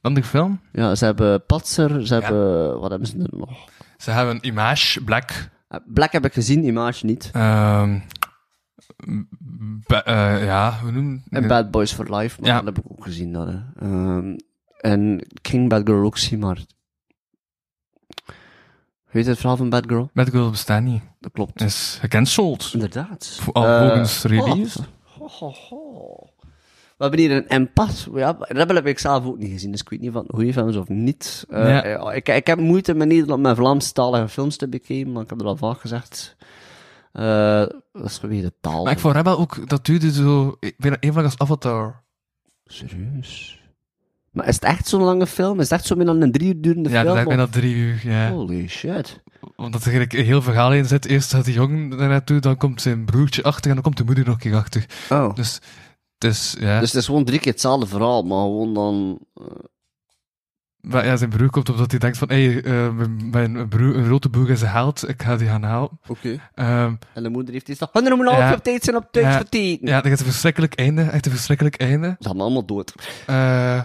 C: Dan die film.
B: Ja, ze hebben Patser, ze hebben... Wat hebben ze er nog?
C: Ze hebben een image, Black.
B: Eh, Black heb ik gezien, Image niet.
C: ehm, be- eh, ja, hoe noem
B: En Bad Boys for Life, maar
C: Ja.
B: dat heb ik ook gezien. Dat, hè. Ehm, en King Bad Girl ook zien, maar... Weet je het verhaal van Bad Girl?
C: Bad Girl bestaat niet.
B: Dat klopt.
C: Is gecanceld.
B: Inderdaad.
C: Voor- al
B: Eh,
C: volgens release?
B: ho, ho, ho. We hebben hier een impasse. Ja, Rebel heb ik zelf ook niet gezien, dus ik weet niet van goede films of niet. Eh,
C: Ja.
B: eh, ik, ik heb moeite met Nederland met Vlaamstalige films te bekijken, maar ik heb er al vaak gezegd. Eh, dat is weer de taal.
C: Maar ik vond Rebel ook, dat duurde zo, ik ben even lang als Avatar.
B: Serieus? Maar is het echt zo'n lange film? Is het echt zo meer dan een drie uur durende
C: Ja, dat
B: film?
C: lijkt mij
B: of-
C: dat drie uur, ja.
B: Holy shit.
C: Omdat er eigenlijk een heel verhaal in zit. Eerst gaat die jongen daar naartoe, dan komt zijn broertje achter en dan komt de moeder nog een keer achter.
B: Oh. Dus, eh,
C: Dus, dus ja.
B: het is gewoon drie keer hetzelfde verhaal, maar gewoon dan...
C: Maar ja, zijn broer komt omdat hij denkt van, hé, hey, eh, mijn- mijn broer, een rode broer is een held, ik ga die gaan halen.
B: Oké.
C: Ehm,
B: En de moeder heeft iets van... moet nou
C: Ja.
B: op tijd zijn op tijd
C: Ja.
B: verteten.
C: ja, dat is een verschrikkelijk einde, echt een verschrikkelijk einde.
B: Ze gaan allemaal dood.
C: Eh,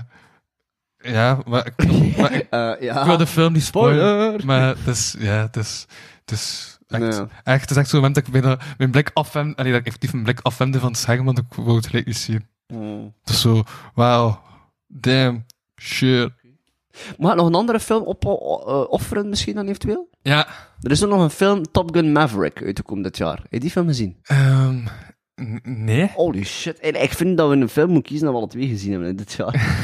C: ja, maar ik, maar ik,
B: Eh,
C: ik wil
B: ja.
C: de film niet spoilen.
B: Spoiler.
C: Maar het is, ja, het is, het is echt,
B: Ja.
C: echt, het is echt zo'n moment dat ik bijna mijn blik afwend, allee, dat ik effectief mijn blik afwende van het scherm, want ik wou het gelijk niet zien.
B: Mm.
C: Het is zo, wauw, damn, shit.
B: Mag ik nog een andere film op, eh, offeren misschien dan eventueel?
C: Ja,
B: Er is ook nog een film, Top Gun Maverick, uitgekomen dit jaar. Heb je die film gezien?
C: ehm, n- nee.
B: Holy shit. En ik vind dat we een film moeten kiezen dat we alle twee gezien hebben dit jaar.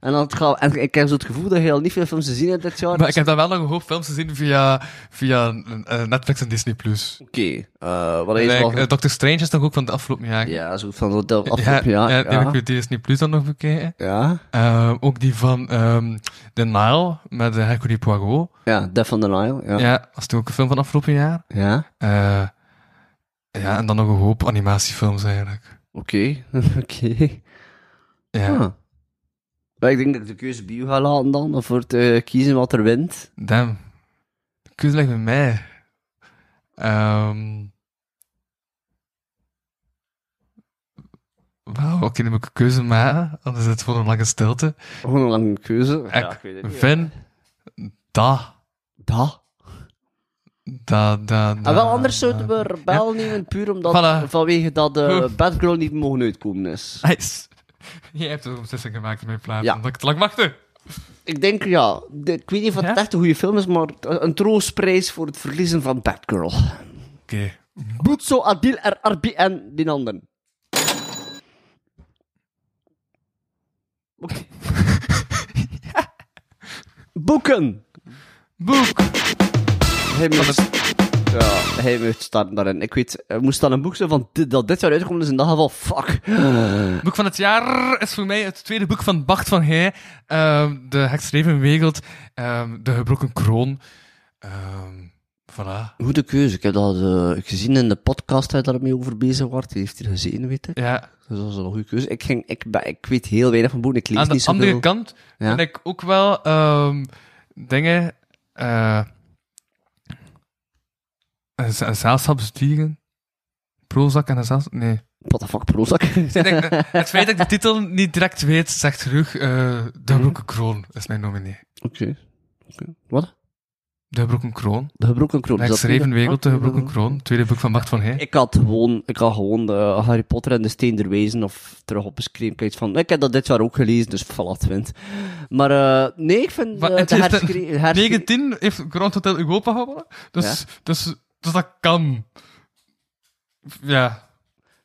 B: En, dan het gaat- en ik heb zo het gevoel dat je al niet veel films te zien hebt dit jaar. dus
C: Maar ik heb dan wel nog een hoop films gezien via, via eh, Netflix en Disney+. Plus.
B: Oké, eh, wat is wel...
C: Doctor Strange is toch ook van de afgelopen jaar?
B: ja, zo van dat- dat afgelopen jaar.
C: ja, die heb ik
B: Ja.
C: via Disney Plus dan nog bekeken.
B: Ja,
C: Eh, ook die van ehm The Nile met eh, Hercule Poirot.
B: ja, Death on the Nile. Ja.
C: Ja.
B: Ja.
C: dat is toch ook een film van afgelopen jaar. Eh, ja, en dan nog een hoop animatiefilms eigenlijk.
B: Oké, oké.
C: Ja,
B: Ah. Maar ik denk dat ik de keuze bio ga laten dan, om voor te kiezen wat er wint.
C: damn. De keuze ligt bij mij. Ehm Wauw, oké, dan moet ik een keuze maken. Anders is het voor een lange stilte.
B: Gewoon een lange keuze.
C: ik vind dat...
B: Dat.
C: Dat, dat,
B: En
C: dat-
B: Ah, wel, anders zouden we Rebel nemen, puur omdat
C: Voilà.
B: vanwege dat de
C: Oef.
B: Batgirl niet mogen uitkomen is.
C: Nice. Jij hebt een beslissing gemaakt in mijn plaats,
B: Ja.
C: omdat ik te lang wachtte.
B: Ik denk, ja, de- ik weet niet of het
C: Ja?
B: echt een goede film is, maar een troostprijs voor het verliezen van Batgirl.
C: Oké.
B: Boetso, Adil, RRB en die anderen. Oké. Boeken!
C: Boek!
B: Hij moet, ja, hij moet starten daarin. Ik weet, er moest dan een boek zijn van dit, dat dit zou uitkomen, dus in dat geval, fuck.
C: Boek van het jaar is voor mij het tweede boek van Bart van Heij. ehm, de Heks Revenwegeld, ehm, De Gebroken Kroon. Ehm voilà.
B: Goede keuze. Ik heb dat eh, gezien in de podcast dat hij daarmee over bezig wordt. Die heeft hier gezien, weet ik.
C: Ja.
B: Dus dat is wel een goede keuze. Ik, ging, ik, ben- ik weet heel weinig van boeken. Ik lees
C: Aan
B: niet
C: de
B: zoveel.
C: andere kant
B: Ja.
C: vind ik ook wel ehm, dingen... eh een z- een zeilschapsdieren. Prozac en een zeils- Nee.
B: What the fuck, Prozac?
C: Ik denk, eh, het feit dat ik de titel niet direct weet, zegt genoeg. eh,
B: Mhm.
C: de Gebroken Kroon is mijn nominee.
B: Oké. Oké. Wat?
C: De Gebroken Kroon.
B: De gebroken kroon.
C: De
B: is
C: Heks
B: dat niet?
C: Revenwegeld, De
B: Ah,
C: Gebroken Kroon. Tweede boek van Bart van Heij.
B: Ik had gewoon, ik had gewoon de Harry Potter en de Steen der Wezen of terug op een screen. Ik had iets van, ik heb dat dit jaar ook gelezen, dus voilà, het wint. Maar eh, nee, ik vind
C: Maar
B: eh,
C: het
B: de
C: is de-
B: herschree- herschree-
C: 19 heeft Grand Hotel Europa gewonnen. Dus, dus, dus dat kan. Ja.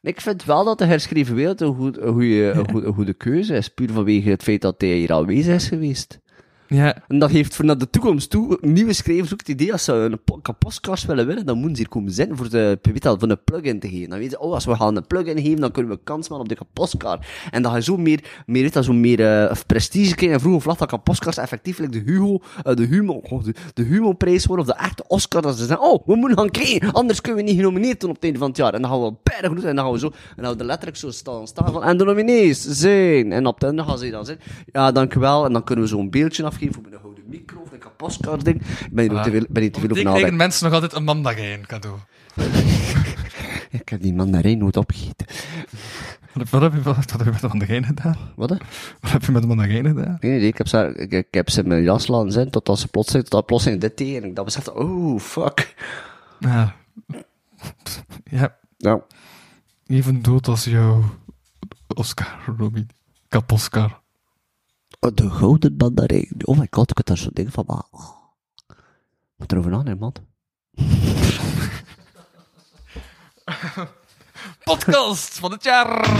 B: Ik vind wel dat de herschreven wereld een, goed, een, goede, een, goede, een goede keuze is. Puur vanwege het feit dat hij hier aanwezig is geweest.
C: Ja.
B: En dat geeft voor naar de toekomst toe nieuwe schrijvers ook het idee als ze een po- een podcast willen winnen, dan moeten ze hier komen zitten voor de weet je wel, voor een plug-in te geven. Dan weten ze, oh, als we gaan een plug-in geven, dan kunnen we kans maken op de kapotkar. En dan ga je zo meer, meer, weet je wel, zo meer eh, prestige krijgen. En vroeger of laat dat kapotkars effectievelijk de Hugo, eh, de Humo, oh, de, de Humo-prijs worden, of de echte Oscar, dat ze zeggen, oh, we moeten gaan krijgen, anders kunnen we niet genomineerd worden op het einde van het jaar. En dan gaan we bijna genoeg, en dan gaan we zo, en dan gaan we er letterlijk zo staan, staan van, en de nominees zijn. En op het einde gaan ze dan zitten, ja, dankjewel, en dan kunnen we zo'n beeldje afgeven voor een gouden micro, of een kapotkar ding. Ik ben hier ook te veel, ben hier te veel
C: Oh, Die
B: over nou
C: krijgen
B: nadenken.
C: mensen nog altijd een mandarijn cadeau.
B: Ik heb die mandarijn nooit opgegeten.
C: Wat, wat, heb je, wat, wat heb je met de mandarijn gedaan?
B: Wat, hè?
C: Wat heb je met de mandarijn gedaan?
B: Geen idee, ik heb ze, ik, ik heb ze in mijn jas laten zijn, totdat ze plotseling, totdat plotseling dit tegen, en ik dacht besefte, oh, fuck.
C: Ja. Nou, Ja.
B: Nou,
C: Even dood als jouw Oscar, Robbie. Kaposkar.
B: Oh, De gouden mandarijn. Oh my god, ik had daar zo'n ding van maken. Oh. Moet erover nadenken, man.
C: Podcast van het jaar!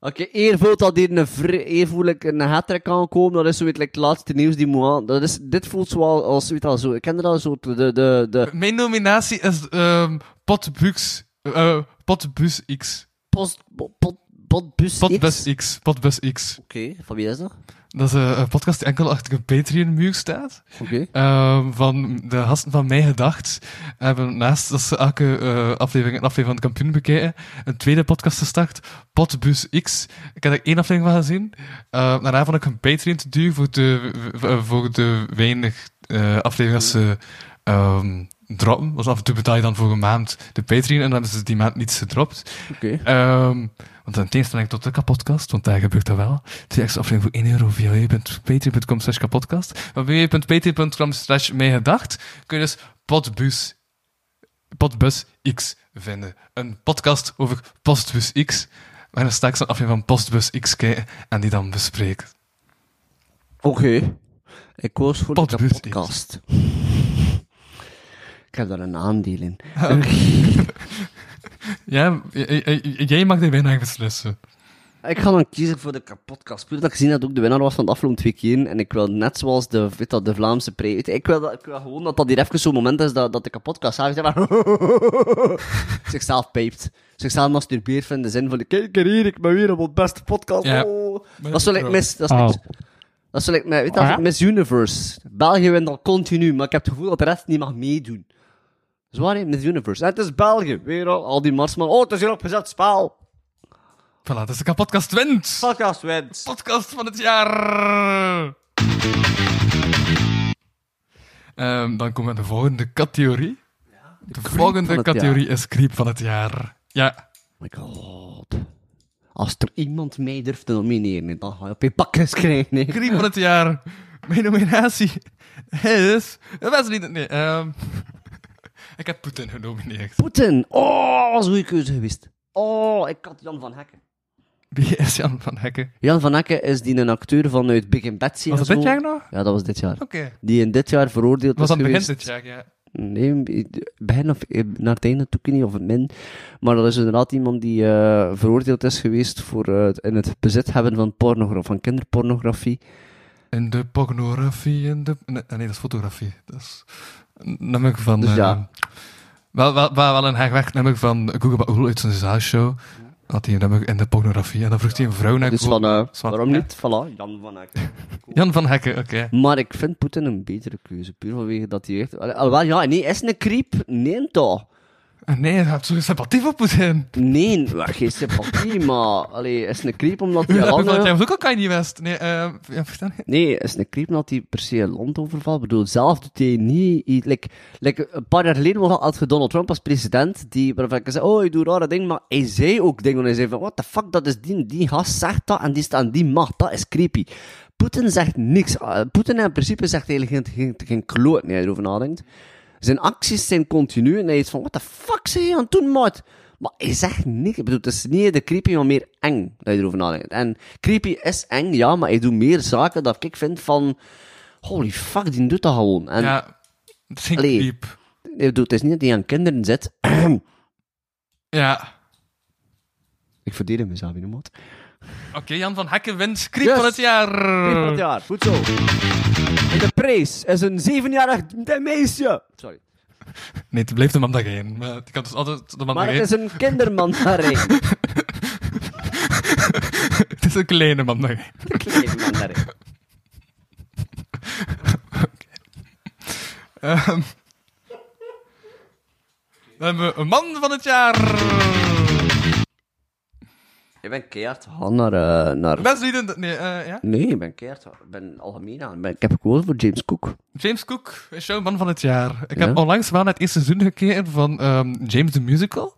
B: Oké, eervoel dat hier een vri- eervoelig een hat-trick kan komen, dat is zoiets like, het laatste nieuws die moet aan. Dat is, dit voelt zo als, weet je wel, zo, ik ken dat zo, de, de, de, de
C: Mijn nominatie is ehm Potbux. eh Potbus X.
B: post, bo- pot, potbus X.
C: Potbus X. Potbus X.
B: Oké, van wie is dat?
C: Dat is eh, een podcast die enkel achter een Patreon-muur staat.
B: Oké.
C: Ehm, van de gasten van Mij Gedacht hebben naast dat ze elke eh, aflevering een aflevering van de kampioen bekijken, een tweede podcast gestart, Potbus X. Ik heb daar één aflevering van gezien. Eh, daarna vond ik een Patreon te duur voor de, v- eh, voor de weinig eh afleveringen dat ze ehm, droppen. Dus af en toe betaal je dan voor een maand de Patreon en dan hebben ze die maand niets gedropt.
B: Oké.
C: Ehm, want in tegenstelling tot de kapotkast, want daar gebeurt dat wel. Twee extra afleveringen voor 1 euro via www.patreon.com slash kapotkast. Van www.patreon.com slash mijgedacht kun je dus Podbus, Podbus X vinden. Een podcast over Postbus X. Maar dan sta ik zo'n aflevering van Postbus X kijken en die dan bespreken.
B: Oké. Ik koos voor de
C: Potbus X.
B: podcast. Ik heb daar een aandeel in.
C: Ja, j- j- j- jij mag er bijna beslissen.
B: Ik ga dan kiezen voor de kapotkast. Puur dat ik gezien dat ook de winnaar was van de afgelopen twee keer. En ik wil net zoals de, weet dat, de Vlaamse pre... weet je, Ik wil, dat- ik wil gewoon dat dat hier even zo'n moment is dat, dat de kapotkast zelf zegt maar zichzelf pijpt. Zichzelf masturbeert van de zin van... Kijk er hier, ik ben weer op het beste podcast.
C: Ja.
B: Oh. Dat is wel ik mis. Dat is
E: Oh.
B: niks. Dat is wel ik, weet je, dat is Miss Universe. België wint al continu, maar ik heb het gevoel dat de rest niet mag meedoen. Zwaar, hè, Miss Universe. En het is België. Weer al, al die marsman. Oh, het is hier opgezet spel.
C: Voilà, dus de podcast wint.
B: Podcast wint.
C: podcast van het jaar. Ehm, dan komen we aan de volgende categorie. de
B: van
C: volgende
B: het jaar.
C: categorie is creep van het jaar. Ja,
B: my god. Als er iemand mij durft te nomineren, dan ga je op je pakjes krijgen. hè.
C: creep van het jaar. Mijn nominatie is... Eh, Dat was niet... Nee, ehm, ik heb Poetin genomineerd.
B: Poetin. Oh, was een goede keuze geweest. Oh, ik had Jan van Hekken.
C: Wie is Jan van Hekken?
B: Jan van Hekken is die een acteur vanuit Big in Betsy.
C: Was
B: en
C: dat dit
B: zo.
C: jaar nog? Oké.
B: Ja, dat was dit jaar. Die in dit jaar veroordeeld
C: Was
B: is
C: dat het begin dit
B: geweest.
C: jaar, ja.
B: Nee, begin of eh, naar het einde toe ik niet, of het min. Maar dat is inderdaad iemand die eh, veroordeeld is geweest voor eh, het in het bezit hebben van, pornogra- van kinderpornografie.
C: In de pornografie, in de... Nee, nee, dat is fotografie. Dat is een nummer van...
B: Dus
C: eh,
B: ja.
C: wel, wel, wel, wel een herweg nummer van Google Baoul uit zijn zaalshow. Had hij een nummer in de pornografie. En dan vroeg hij een vrouw naar
B: Dus
C: Google-
B: van, eh,
C: Zwart,
B: waarom
C: ja.
B: niet? Voilà, Jan van Hekken.
C: Jan van Hekken, oké.
B: Maar ik vind Poetin een betere keuze, puur vanwege dat hij echt... Allee, Alhoewel, ja, nee, is een creep? Nee, toch?
C: Ah, Nee, hij hebt zo'n sympathie voor Poetin.
B: Nee, wel, geen sympathie, maar... Allee, is een creep omdat hij
C: Ja,
B: een
C: dat jij
B: land...
C: was ook al Kanye West. Nee, eh ja, vertel je.
B: Nee, is een creep omdat hij per se een land overvalt? Ik bedoel, zelf doet hij niet... iets- Like, like, een paar jaar geleden was- had je Donald Trump als president, die, waarvan ik zei, oh, je doet rare dingen, maar hij zei ook dingen. Hij zei van, what the fuck, dat is die, die gast zegt dat en die staat aan die macht, dat is creepy. Poetin zegt niks. Eh, Poetin in principe zegt eigenlijk geen, geen, geen kloot, nee, erover nadenkt. Zijn acties zijn continu en hij is van, what the fuck zeg je aan het doen, maat? Maar hij zegt niks. Ik bedoel, het is niet de creepy, maar meer eng, dat je erover nadenkt. En creepy is eng, ja, maar hij doet meer zaken dat ik vind van, holy fuck, die doet dat gewoon. En
C: Ja, het ging
B: Allee.
C: diep.
B: ik bedoel, het is niet dat hij aan kinderen zit.
C: Ja.
B: ik verdedig mezelf in de mot.
C: Oké, Jan van Hekken wint creep
B: Yes.
C: van het jaar.
B: het jaar, goed zo. En de prijs is een zevenjarig d- meisje. Sorry.
C: Nee, het bleef de mandarijn. Maar ik had dus altijd de
B: Maar
C: mandarijn.
B: het is een kindermandarijn.
C: het is een kleine mandarijn.
B: Een kleine mandarijn.
C: Ehm. dan hebben we een man van het jaar.
B: Ik ben keert gegaan naar... eh, naar...
C: Best niet in de- Nee, eh, ja.
B: Nee, ik ben keert. Ik ben algemeen aan. Ik ben- Ik heb gekozen voor James Cook.
C: James Cook is jouw man van het jaar. Ik
B: Ja?
C: heb onlangs wel naar het eerste seizoen gekeken van ehm, James the Musical.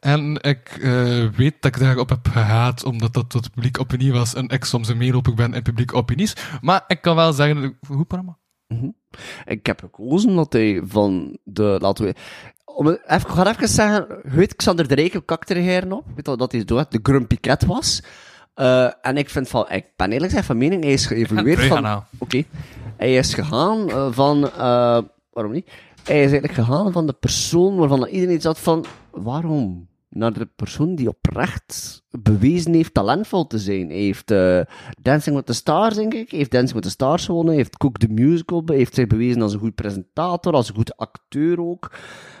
C: En ik eh, weet dat ik daarop heb gehaat, omdat dat tot publiek opinie was. En ik soms een meeloper ben in publieke opinies. Maar ik kan wel zeggen, dat ik- goed programma.
B: Ik heb gekozen dat hij van de... Laten we... Om, het- even, ik ga even zeggen... je Weet Xander de Rijken kakte er heren op. Weet dat, dat hij door de Grumpy Cat was. Eh, en ik vind van... Ik ben eerlijk gezegd van mening... Hij is geëvalueerd
C: terug
B: van...
C: gaan nou. halen.
B: Oké. Hij is gegaan eh, van... eh, waarom niet? Hij is eigenlijk gegaan van de persoon waarvan dat iedereen zat van... Waarom? Naar de persoon die oprecht bewezen heeft talentvol te zijn. Hij heeft eh, Dancing with the Stars, denk ik. Hij heeft Dancing with the Stars gewonnen. Hij heeft Cook the Musical. be- Heeft zich bewezen als een goed presentator, als een goed acteur ook.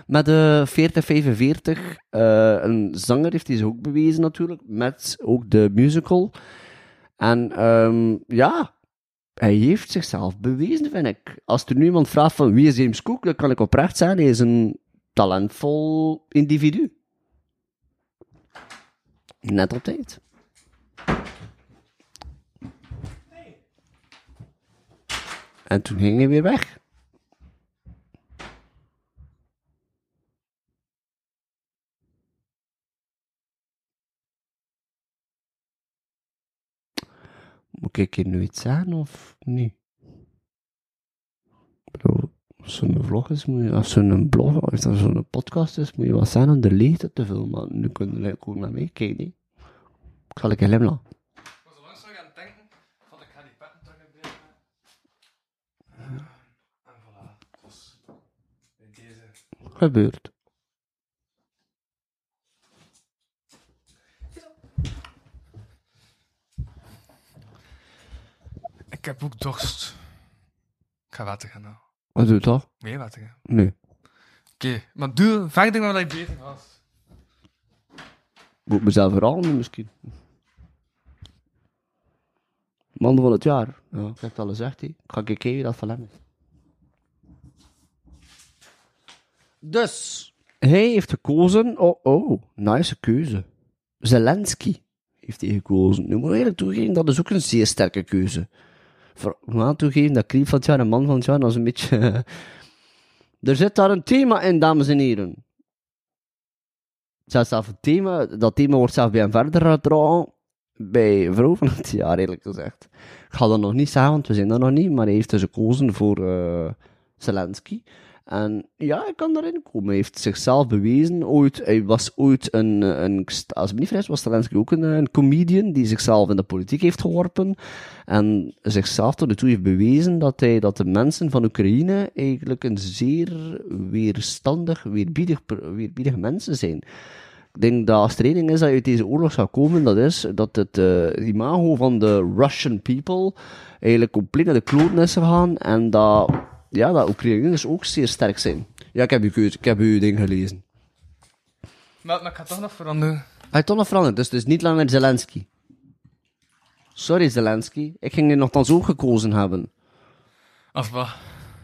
B: Met de 4045. eh een zanger heeft hij zich ook bewezen natuurlijk. Met ook de musical. En ehm, ja, hij heeft zichzelf bewezen, vind ik. Als er nu iemand vraagt van wie is James Cook, dan kan ik oprecht zijn, hij is een talentvol individu. Net op tijd. En toen ging hij weer weg. Moet ik hier nu nou iets aan of niet? Ik bedoel, als zo'n vlog is, moet je, als zo'n blog, als er zo'n podcast is, moet je wat zijn om de leegte te vullen. Maar nu kunnen jullie ook naar meekijken. hè. Ik zal ik helemaal.
C: Ik was onlangs nog aan het denken van ik ga die petten terug in breken. En voilà, het was deze.
B: Gebeurt.
C: Ik heb ook dorst. Ik ga water gaan halen.
B: Wat doe je toch?
C: Meer water gaan.
B: Nee.
C: Oké, maar doe verder dan wat ik beter was.
B: Moet ik mezelf herhalen misschien? Man van het jaar. Ja, ik heb het al gezegd, hè. Ik ga kijken wie dat van hem is. Dus, hij heeft gekozen... Oh, oh, nice keuze. Zelensky heeft hij gekozen. Nu moet ik eerlijk toegeven, dat is ook een zeer sterke keuze. Voor, ik moet aan toegeven dat Kriep van het jaar en Man van het jaar, dat is een beetje... er zit daar een thema in, dames en heren zelfs zelf een thema, dat thema wordt zelf bij hem verder uitgedragen. Bij vrouw van het jaar, eerlijk gezegd. Ik ga dat nog niet zeggen, want we zijn dat nog niet. Maar hij heeft dus gekozen voor eh, Zelensky. En ja, hij kan daarin komen. Hij heeft zichzelf bewezen. Ooit, hij was ooit een, een als ik me niet vergis, was Zelensky ook een, een comedian die zichzelf in de politiek heeft geworpen. En zichzelf tot nu toe heeft bewezen dat, hij, dat de mensen van Oekraïne eigenlijk een zeer weerstandig, weerbiedig, per- weerbiedige mensen zijn. Ik denk dat als er één ding is dat uit deze oorlog zou komen, dat is dat het eh, imago van de Russian people eigenlijk compleet naar de kloten is gegaan en dat, ja, dat Oekraïners ook zeer sterk zijn. Ja, ik heb uw keuze, ik heb uw ding gelezen.
C: Maar, maar ik ga toch nog veranderen.
B: Hij is toch nog veranderd, dus het is niet langer Zelensky. Sorry Zelensky, ik ging je nogthans ook gekozen hebben
C: Of wat?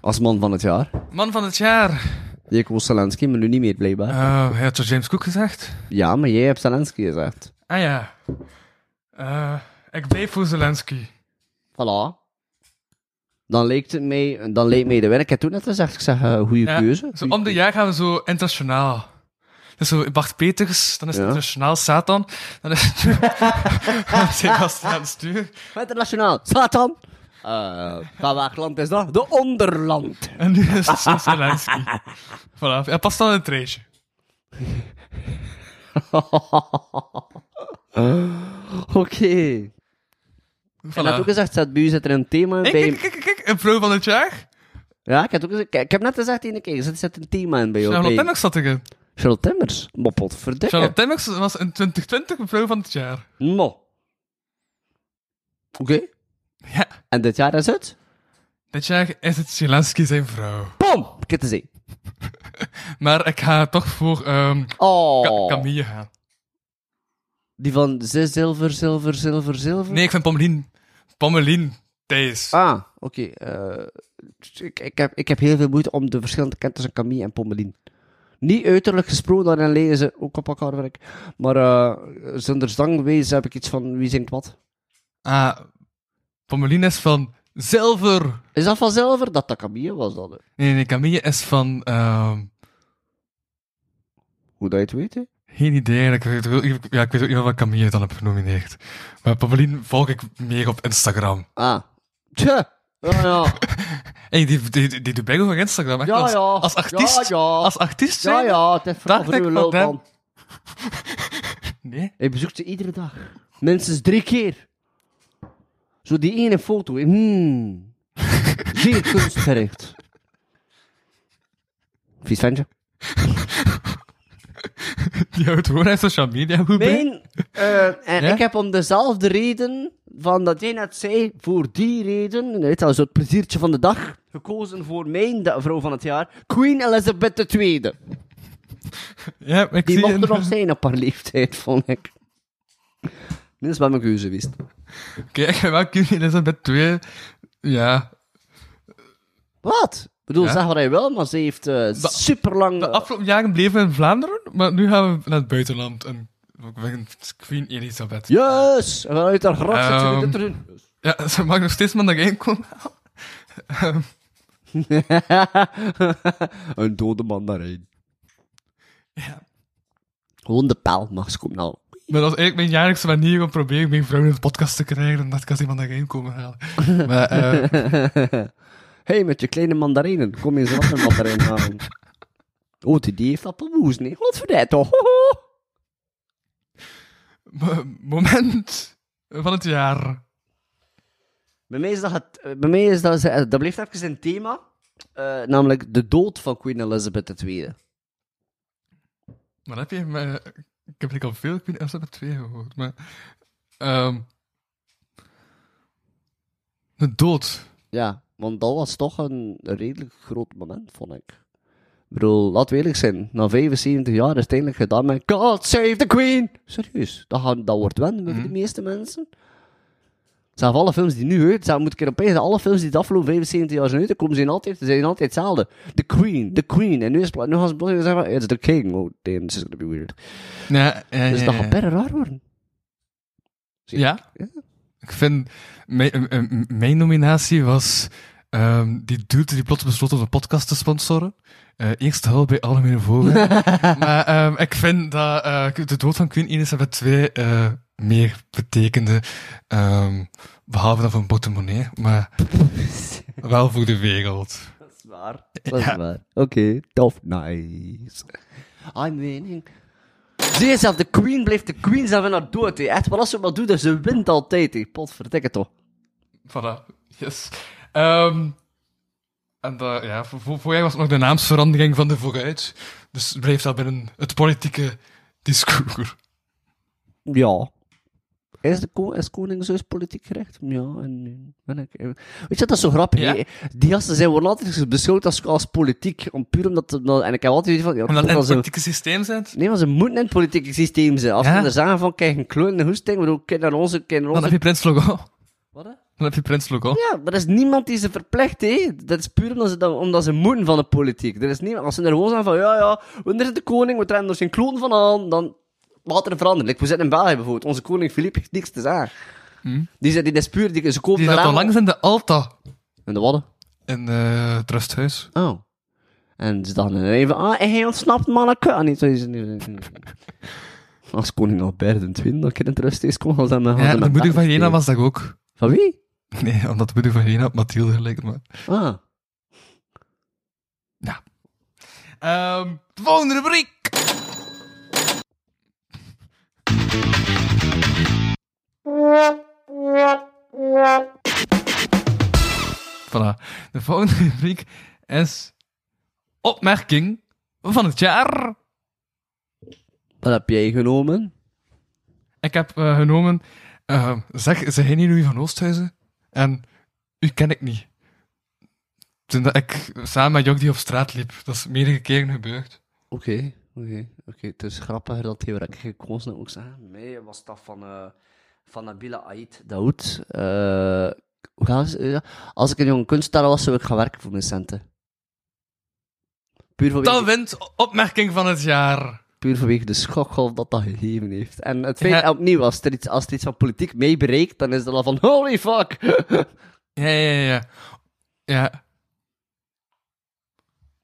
B: als man van het jaar.
C: Man van het jaar.
B: Je koos Zelensky, maar nu niet meer blijkbaar.
C: Eh hij had zo James Cook gezegd.
B: Ja, maar jij hebt Zelensky gezegd.
C: Ah ja. Eh, ik bleef voor Zelensky.
B: Voilà. Dan leek het mij, dan leek mij de win. Ik heb toen net gezegd, ik zeg, eh, goede
C: Ja,
B: keuze.
C: Zo om de jaar gaan we zo internationaal. Dus zo Bart Peters, dan is het
B: Ja.
C: internationaal Satan. Dan is het dan is Sebastiaan aan het stuur.
B: Internationaal, Satan! Eh van welk land is dat? De onderland.
C: En nu is het zo Zelensky. Voilà, hij past dan in het treetje.
B: Oké. En dat ook gezegd, ZBU zit er een thema
C: Hey,
B: bij.
C: kijk, kijk, kijk, kijk, een pro van het jaar.
B: Ja, ik heb, ook gezegd, kijk, ik heb net gezegd, ene keer, er zit een thema in bij jou.
C: Charlotte
B: bij-
C: Timmers zat erin.
B: Charlotte Timmers. Moppelt,
C: Charlotte
B: verdikken.
C: Timmers was in 2020 een pro van het jaar.
B: Mo. Oké.
C: Ja,
B: En dit jaar is het?
C: dit jaar is het Zelensky zijn vrouw.
B: Bom! Kijk te zien.
C: Maar ik ga toch voor ehm Ka-
B: Oh.
C: Camille gaan.
B: Die van ze- zilver, zilver, zilver, zilver.
C: Nee, ik vind Pommelien. Pommelien Thijs.
B: Ah, oké. eh, ik, ik, heb, ik heb heel veel moeite om de verschillen te kennen tussen Camille en Pommelien. Niet uiterlijk gesproken, daarin lezen ook op elkaar werk. Maar eh, zonder zangwezen heb ik iets van wie zingt wat.
C: Ah, Pommelien is van zilver.
B: Is dat van zilver? Dat dat Camille was dan. hè.
C: Nee, nee, Camille is van... ehm,
B: Hoe dat je het weet, hè?
C: geen idee, eigenlijk. ik weet, ook- ja, ik weet ook niet wat Camille dan heb genomineerd. Maar Pommelien volg ik meer op Instagram.
B: Ah. Tja. Ja, ja.
C: Hé, die, die, die, die doet bijna voor Instagram. Echt,
B: Ja,
C: als,
B: ja.
C: als artiest?
B: Ja, ja.
C: Als artiest
B: ja,
C: zijn?
B: ja, het is
C: Dacht
B: voor
C: ik
B: uw
C: van
B: lul,
C: hem.
B: man.
C: Nee?
B: Hij bezoekt ze iedere dag. Minstens drie keer. Zo die ene foto. hè. Hmm. Zeer kunstgericht. Vies ventje.
C: Die houdt gewoon uit social media goed bij.
B: Mijn, eh, en
C: Ja?
B: ik heb om dezelfde reden van dat jij net zei, voor die reden, en weet je, dat is het pleziertje van de dag, gekozen voor mijn da- vrouw van het jaar, Queen Elizabeth II.
C: Ja, ik
B: Die
C: zie
B: mocht
C: een-
B: er nog zijn op haar leeftijd, vond ik. Dit is wel mijn keuze geweest.
C: Oké, ik ga wel Queen Elizabeth 2. Ja.
B: Wat? Ik bedoel,
C: Ja?
B: zeg wat hij wil, maar ze heeft eh, super lang...
C: De afgelopen jaren bleven we in Vlaanderen, maar nu gaan we naar het buitenland. En we winnen Queen Elizabeth.
B: Yes! En vanuit haar graf zit ze
C: Ehm.
B: dit erin.
C: Ja, ze mag nog steeds mandarijn komen.
B: een dode mandarijn.
C: Ja.
B: Gewoon de pijl mag ze komen nou.
C: Maar dat is eigenlijk mijn jaarlijkse manier om proberen mijn vrouw in de podcast te krijgen. En dat kan ze mandarijn komen halen. Maar, eh,
B: hey, met je kleine mandarijnen, kom eens wat een mandarijn halen. Oh, die, die heeft appelmoes, nee. Godverdijd toch. Hoho.
C: m- moment van het jaar.
B: Bij mij is dat, het, eh, bij mij is dat, ze- eh, dat blijft even een thema. eh, namelijk de dood van Queen Elizabeth II.
C: Maar heb je... Maar, ik heb eigenlijk al veel Queen Elizabeth 2 gehoord, maar... ehm, De dood.
B: Ja, want dat was toch een redelijk groot moment, vond ik. Ik bedoel, laat we eerlijk zijn. Na 75 jaar is het eindelijk gedaan met God save the Queen. Serieus, dat, gaan, dat wordt wennen
C: Mhm.
B: voor de meeste mensen. Zelfs alle films die nu uit zijn, moet ik er opeens alle films die de afgelopen 75 jaar zijn uit, dan komen ze in altijd, ze zijn altijd hetzelfde. The Queen, The Queen. En nu, is, pla- nu gaan ze plotseling zeggen, van, it's the king. Oh, damn, this is gonna be weird.
C: Ja, ja,
B: Dus
C: ja,
B: dat
C: ja.
B: gaat bijna raar worden. Zie
C: Ja?
B: Ja.
C: Ik vind... Mijn, eh, eh, mijn nominatie was... ehm, die dude die plots besloot om de podcast te sponsoren. Eh, eerst de hulp bij Algemene Vogel. maar ehm, ik vind dat eh, de dood van Queen Elizabeth II eh, meer betekende. ehm, behalve dan voor een portemonnee, maar wel voor de wereld.
B: Dat is waar. Dat is waar. Oké, tof. Nice. I'm winning. Zie je zelf, de queen blijft de queen zelf in haar dood. hè. Echt, wat als ze maar doet, dus ze wint altijd. hè. Potverdikke toch.
C: Voilà, yes. Ehm, en dat, ja, voor, voor, voor jij was het nog de naamsverandering van de vooruit. Dus bleef dat binnen het politieke discours.
B: Ja. Is, de ko is koningshuis politiek gerecht? Ja, en nu ben ik... Weet je, dat is zo grappig.
C: Ja.
B: hè. Die gasten zijn worden altijd beschouwd als, als politiek. Om puur omdat... omdat- en ik heb altijd zoiets van... Ja,
C: Omdat het
B: toch,
C: in
B: als
C: het
B: ze-
C: politieke systeem zit,
B: Nee, maar ze moeten in het politieke systeem zijn. Als
C: Ja.
B: we er zeggen van, kijk, een kloon in de hoesting, bedoel, kijk naar onze, kijk naar
C: dan
B: onze...
C: heb je Prins Logo.
B: Wat, hè?
C: Dan heb je Prins Logo.
B: Ja, maar er is niemand die ze verplicht, hè. Dat is puur omdat ze, dat, omdat ze moeten van de politiek. Er is niemand, als ze er gewoon zijn van, ja, ja, wanneer is de koning, we trekken er zijn kloon van aan, dan laat er veranderen. Like, we zitten in België bijvoorbeeld, onze koning Filip heeft niks te zeggen. Die, zit, die is puur, die, ze kopen
C: Hmm. Die zat
B: daar
C: al
B: aan-
C: langs in de Alta
B: In de Wadden.
C: in eh, het rusthuis.
B: Oh. En ze dachten even, ah, hij ontsnapt manneke. Ah, niet zo is het niet. Als koning Albert in Twin, dat ik in het rust is, kon, dan gaan ze
C: Ja,
B: met
C: de moeder van
B: paarden
C: Jena
B: spelen.
C: was dat ook.
B: Van wie?
C: Nee, omdat de moeder van Jena op Mathilde gelijk maar.
B: Ah.
C: Nou. Ehm, de volgende rubriek! Voilà. De volgende rubriek is opmerking van het jaar.
B: Wat heb jij genomen?
C: Ik heb eh, genomen, eh, zeg, zeg jij niet Louis van Oosthuizen? En u ken ik niet. Toen dat ik samen met Jok die op straat liep. Dat is meerdere keren gebeurd.
B: Oké, oké, oké. Het is grappiger dat hij waar ik gekozen heb ook zeggen. Nee, was dat van, eh van Nabila Ait Daoud. Eh, hoe gaat ze- ja, Als ik een jonge kunstenaar was, zou ik gaan werken voor mijn centen. Puur vanwege,
C: Dan wint opmerking van het jaar.
B: puur vanwege de schokgolf dat dat gegeven heeft. En het feit,
C: Ja.
B: en opnieuw, als er, iets, als er iets van politiek mee bereikt, dan is dat al van holy fuck!
C: Ja, ja, ja, ja. Ja,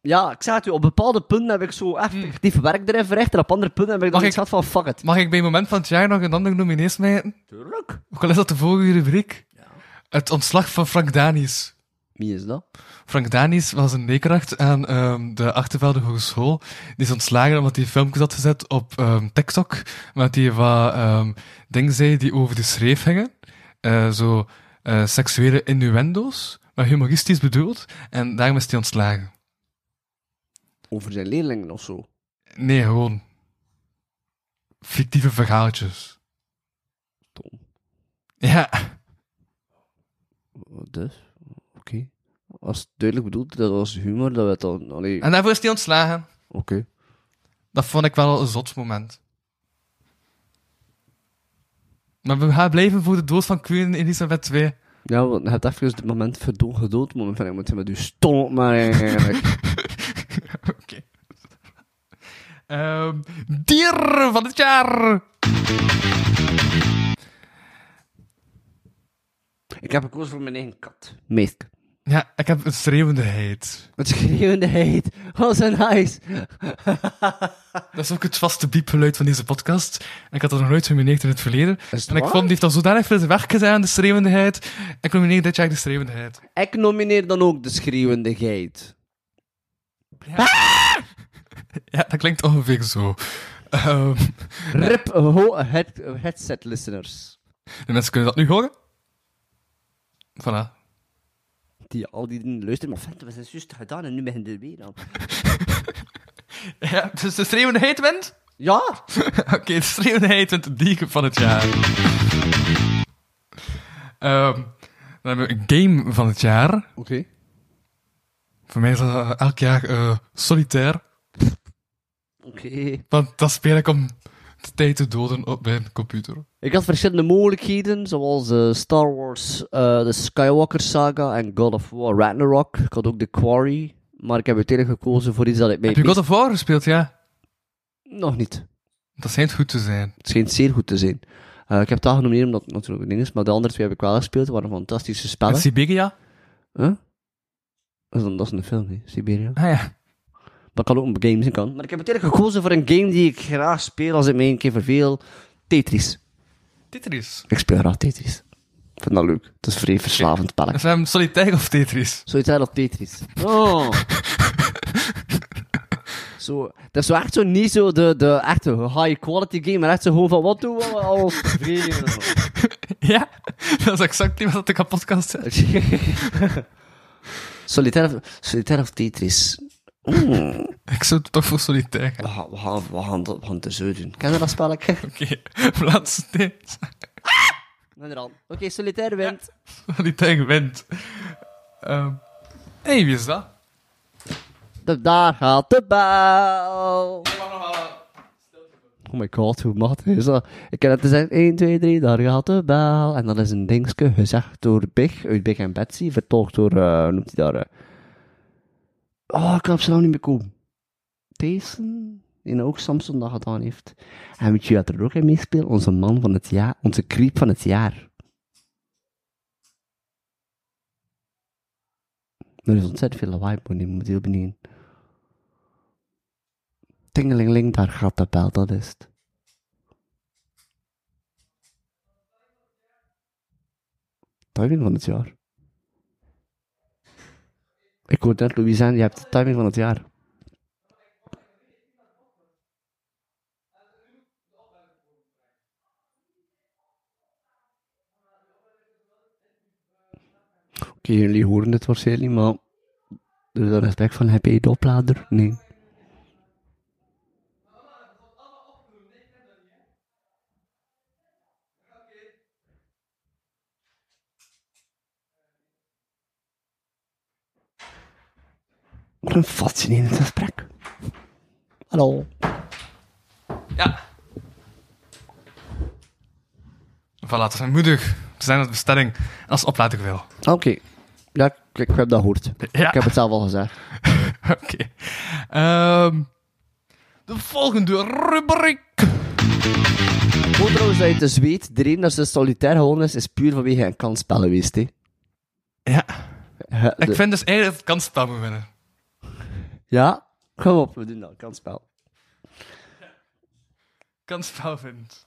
B: ja, ik zeg het u, op bepaalde punten heb ik zo effectief werk erin verricht, en op andere punten heb ik
C: Hmm. Mag
B: dan iets
C: ik-
B: gehad van fuck it.
C: Mag ik bij het moment van het jaar nog een ander nominees smijten?
B: Tuurlijk.
C: Ook al is dat de vorige rubriek. Het ontslag van Frank Daniels.
B: Wie is dat?
C: Frank Daniels was een leerkracht aan ehm, de Achtervelde Hogeschool. Die is ontslagen omdat hij filmpjes had gezet op ehm, TikTok. Met die wat ehm, dingen zei die over de schreef hingen. Eh, zo eh, seksuele innuendo's. Maar humoristisch bedoeld. En daarom is hij ontslagen.
B: Over zijn leerlingen of zo.
C: Nee, gewoon. Fictieve verhaaltjes.
B: Tom.
C: Ja.
B: Dus, oké. Als het duidelijk bedoeld dat was humor, dat werd dan... Allee, oké.
C: En daarvoor is hij ontslagen. Dat vond ik wel een zot moment. Maar we gaan blijven voor de dood van Queen Elizabeth II.
B: Ja, want je hebt even het moment verdoen gedood, moment van, ik moet met u stom, maar eigenlijk...
C: Oké. Ehm, dier van het jaar!
B: ik heb gekozen voor mijn eigen kat. Meeske.
C: Ja, ik heb een schreeuwende heid.
B: Het schreeuwende heet. Oh, zo nice.
C: Dat is ook het vaste piepgeluid van deze podcast. En ik had dat nog nooit genomineerd in het verleden.
B: het
C: en ik
B: waar?
C: vond, die heeft al zodanig veel werk gedaan, de schreeuwende heid. Ik nomineer dit jaar de schreeuwende heid.
B: Ik nomineer dan ook de schreeuwende geit.
C: Ja, dat klinkt ongeveer zo. Ehm,
B: Rip ho head, headset listeners.
C: de mensen kunnen dat nu horen. Voilà.
B: Die al die dingen luisteren, maar vent, we zijn juist gedaan en nu ben je er weer aan.
C: Ja, dus de schreeuwende heid wint?
B: Ja!
C: Oké, de schreeuwende heid wint de dieken van het jaar. Ehm, Dan hebben we een game van het jaar.
G: Oké.
C: Voor mij is dat eh, elk jaar eh, solitair.
B: Oké.
C: Want dat speel ik om de tijd te doden op mijn computer.
B: Ik had verschillende mogelijkheden, zoals eh, Star Wars, eh, de Skywalker Saga en God of War Ragnarok. Ik had ook The Quarry, maar ik heb uiteindelijk gekozen voor iets dat ik mij...
C: Heb je God of War gespeeld? Ja.
B: Nog niet.
C: Dat schijnt goed te zijn.
B: Het schijnt zeer goed te zijn. Eh, ik heb het genomineerd omdat het natuurlijk een ding is, maar de andere twee heb ik wel gespeeld. Het waren fantastische
C: En
B: spellen.
C: Siberia?
B: Huh? Dat, is een, dat is een film, hè? Siberia.
C: Ah ja.
B: Dat kan ook een game zijn, kan. Maar ik heb uiteindelijk gekozen voor een game die ik graag speel als ik me een keer verveel. Tetris.
C: Tetris.
B: Ik speel graag Tetris. Ik vind dat leuk. Het is een vrij verslavend spelletje.
C: Is dat hem solitair of Tetris?
B: Zoiets uit als Tetris. Oh. zo, dat is zo echt zo niet zo de, de echte high quality game, maar echt zo gewoon van wat doen we al tevreden. en zo.
C: Ja, dat is exact niet wat ik aan podcast zei.
B: Solitaire, of- solitaire of Tetris? Mm.
C: Ik zou het toch voor solitair
B: We
C: gaan.
B: gaan, we gaan, we gaan, dat- we gaan het er zo doen. Ken je dat spelletje?
C: Oké, laatste tijd.
B: Inderdaad. Oké, solitair wint.
C: Solitair gewint. Ehm, Hé, wie is dat?
B: Da- Daar gaat de bel. Oh my god, hoe mag het? Is dat? Ik heb net gezegd, 1, 2, 3, daar gaat de bel. En dat is een dingetje gezegd door Big, uit Big en Betsy, vertolkt door, eh, hoe noemt hij daar? eh? Oh, ik kan op zijn naam niet meer komen. Thijssen, die nou ook Samson dat gedaan heeft. En weet je wat er ook in meespeelt? Onze man van het jaar, onze creep van het jaar. Er is ontzettend veel lawaai, maar die moet heel beneden. Tingelingeling, daar gaat de bel, dat is het. Timing van het jaar. Ik hoorde net Louis zeggen, je hebt de timing van het jaar. Oké, jullie horen het waarschijnlijk niet, maar... Dus dat respect van, heb je de oplader? Nee. Wat een fascinerend gesprek. Hallo.
C: Voilà, we zijn moedig. We zijn op de bestelling. En als oplader wil.
B: Oké. Ja, ik, ik heb dat gehoord.
C: Ja,
B: Ik heb het zelf al gezegd.
C: oké. Ehm, de volgende rubriek.
B: Hoe trouwens dat je het dus weet, de reden dat ze solitair gewonnen is, is puur vanwege een kansspel geweest, hè.
C: Ja,
B: Hè, de-
C: ik vind dus eigenlijk dat het kansspel moet winnen.
B: Ja? Kom op, we doen dat, kansspel.
C: Kansspel wint.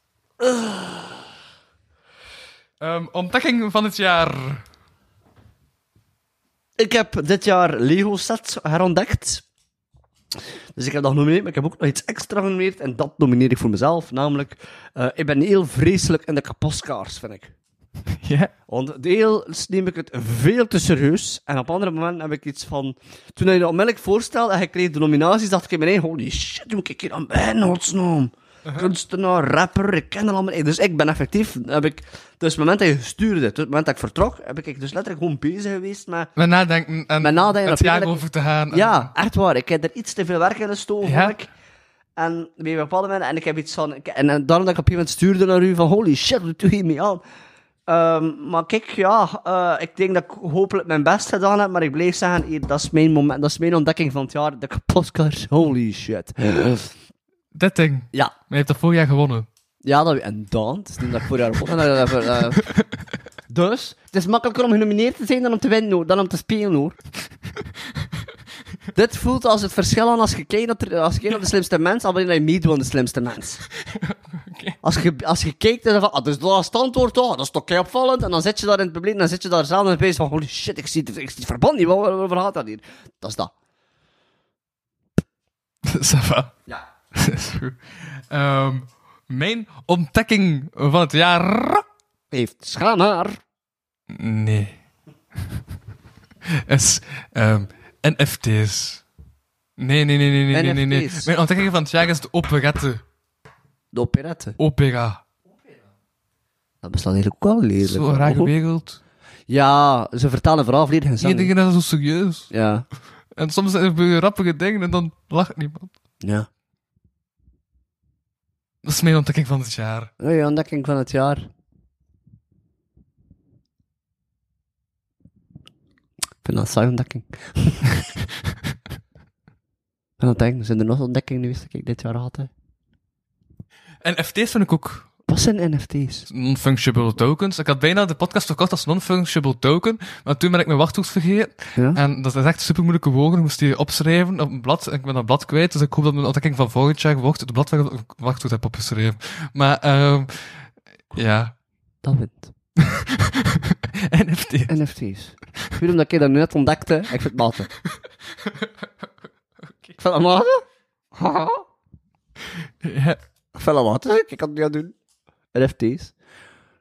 C: Ehm, ontdekking van het jaar.
B: Ik heb dit jaar Lego sets herontdekt. Dus ik heb dat genomineerd, maar ik heb ook nog iets extra genomineerd. En dat nomineer ik voor mezelf. Namelijk, eh, ik ben heel vreselijk in de kapotskaars, vind ik.
C: Ja.
B: Want deels neem ik het veel te serieus. En op andere momenten heb ik iets van... Toen hij dat onmiddellijk voorstelde en ik kreeg de nominaties, dacht ik in mijn eigen... Holy shit, hoe moet ik hier aan bij, in godsnaam? Kunstenaar, rapper, ik ken dat allemaal niet. Dus ik ben effectief... Heb ik, dus het moment dat je gestuurd hebt, het moment dat ik vertrok, heb ik dus letterlijk gewoon bezig geweest met...
C: Met nadenken en
B: Met nadenken
C: het
B: op
C: jaar
B: eigenlijk-
C: over te gaan. en-
B: Ja, echt waar. Ik heb er iets te veel werk in gestoken.
C: Ja.
B: vond ik. En bij een bepaalde moment, en ik heb iets van. ik- En, en daarom dat ik op een gegeven moment stuurde naar u van holy shit, wat doe je mee aan? Ehm, maar kijk, ja, eh, ik denk dat ik hopelijk mijn best gedaan heb, maar ik bleef zeggen, hier, dat is mijn moment, dat is mijn ontdekking van het jaar, de kapotkars, holy shit.
C: Dit ding.
B: Ja,
C: Maar je hebt dat vorig jaar gewonnen.
B: ja, dat, en dan, het is niet dat ik voor jaar op Dus, het is makkelijker om genomineerd te zijn dan om te winnen, hoor, dan om te spelen, hoor. Dit voelt als het verschil aan als je kijkt naar, de- als je kijkt naar de slimste mens, al wanneer je meedoet aan de slimste mens. Als, je, als je kijkt en dan van, ah, dus dat is het antwoord, oh, dat is toch kei opvallend, en dan zit je daar in het publiek en dan zit je daar zelf in bezig van, holy shit, ik zie, het- ik zie het verband niet, waar- waarover gaat dat hier? Dat is dat.
C: Ça va.
B: Ja.
C: Dat is goed. Ehm, mijn ontdekking van het jaar.
B: Heeft schaam haar.
C: Nee. is ehm, NFT's. Nee, nee, nee, nee, nee, nee, nee, nee.
B: NFT's.
C: Mijn ontdekking van het jaar is de operette.
B: De operette.
C: Opera.
B: Dat bestaat eigenlijk ook wel lelijk.
C: Zo raar
B: hoor.
C: geregeld.
B: Ja, ze vertalen vooral volledig in
C: Iedereen
B: zang.
C: is zo serieus.
B: Ja.
C: En soms gebeuren er grappige dingen en dan lacht niemand.
B: Ja.
C: Dat is mijn ontdekking van dit jaar.
B: Oei, ontdekking van het jaar. Ik vind dat een saaie ontdekking. Ik ben aan het denken, zijn er nog ontdekkingen geweest dat ik dit jaar had? hè?
C: NFT's vind ik ook
B: Wat zijn NFT's?
C: non-fungible tokens. Ik had bijna de podcast verkocht als non-fungible token, maar toen ben ik mijn wachtwoord vergeten.
B: Ja?
C: En dat is echt super moeilijke woorden. Ik moest die opschrijven op een blad. En ik ben dat blad kwijt. Dus ik hoop dat mijn ontdekking van volgend jaar wordt het blad waar ik op- wachtwoord heb opgeschreven. Maar, ehm ja.
B: Dat wint.
C: NFT.
B: NFT's. Puur omdat ik dat net ontdekte, ik vind het maten. Ik vind het maten? Haha.
C: Ja.
B: Ik vind het maten, ik kan het niet aan doen. NFT's.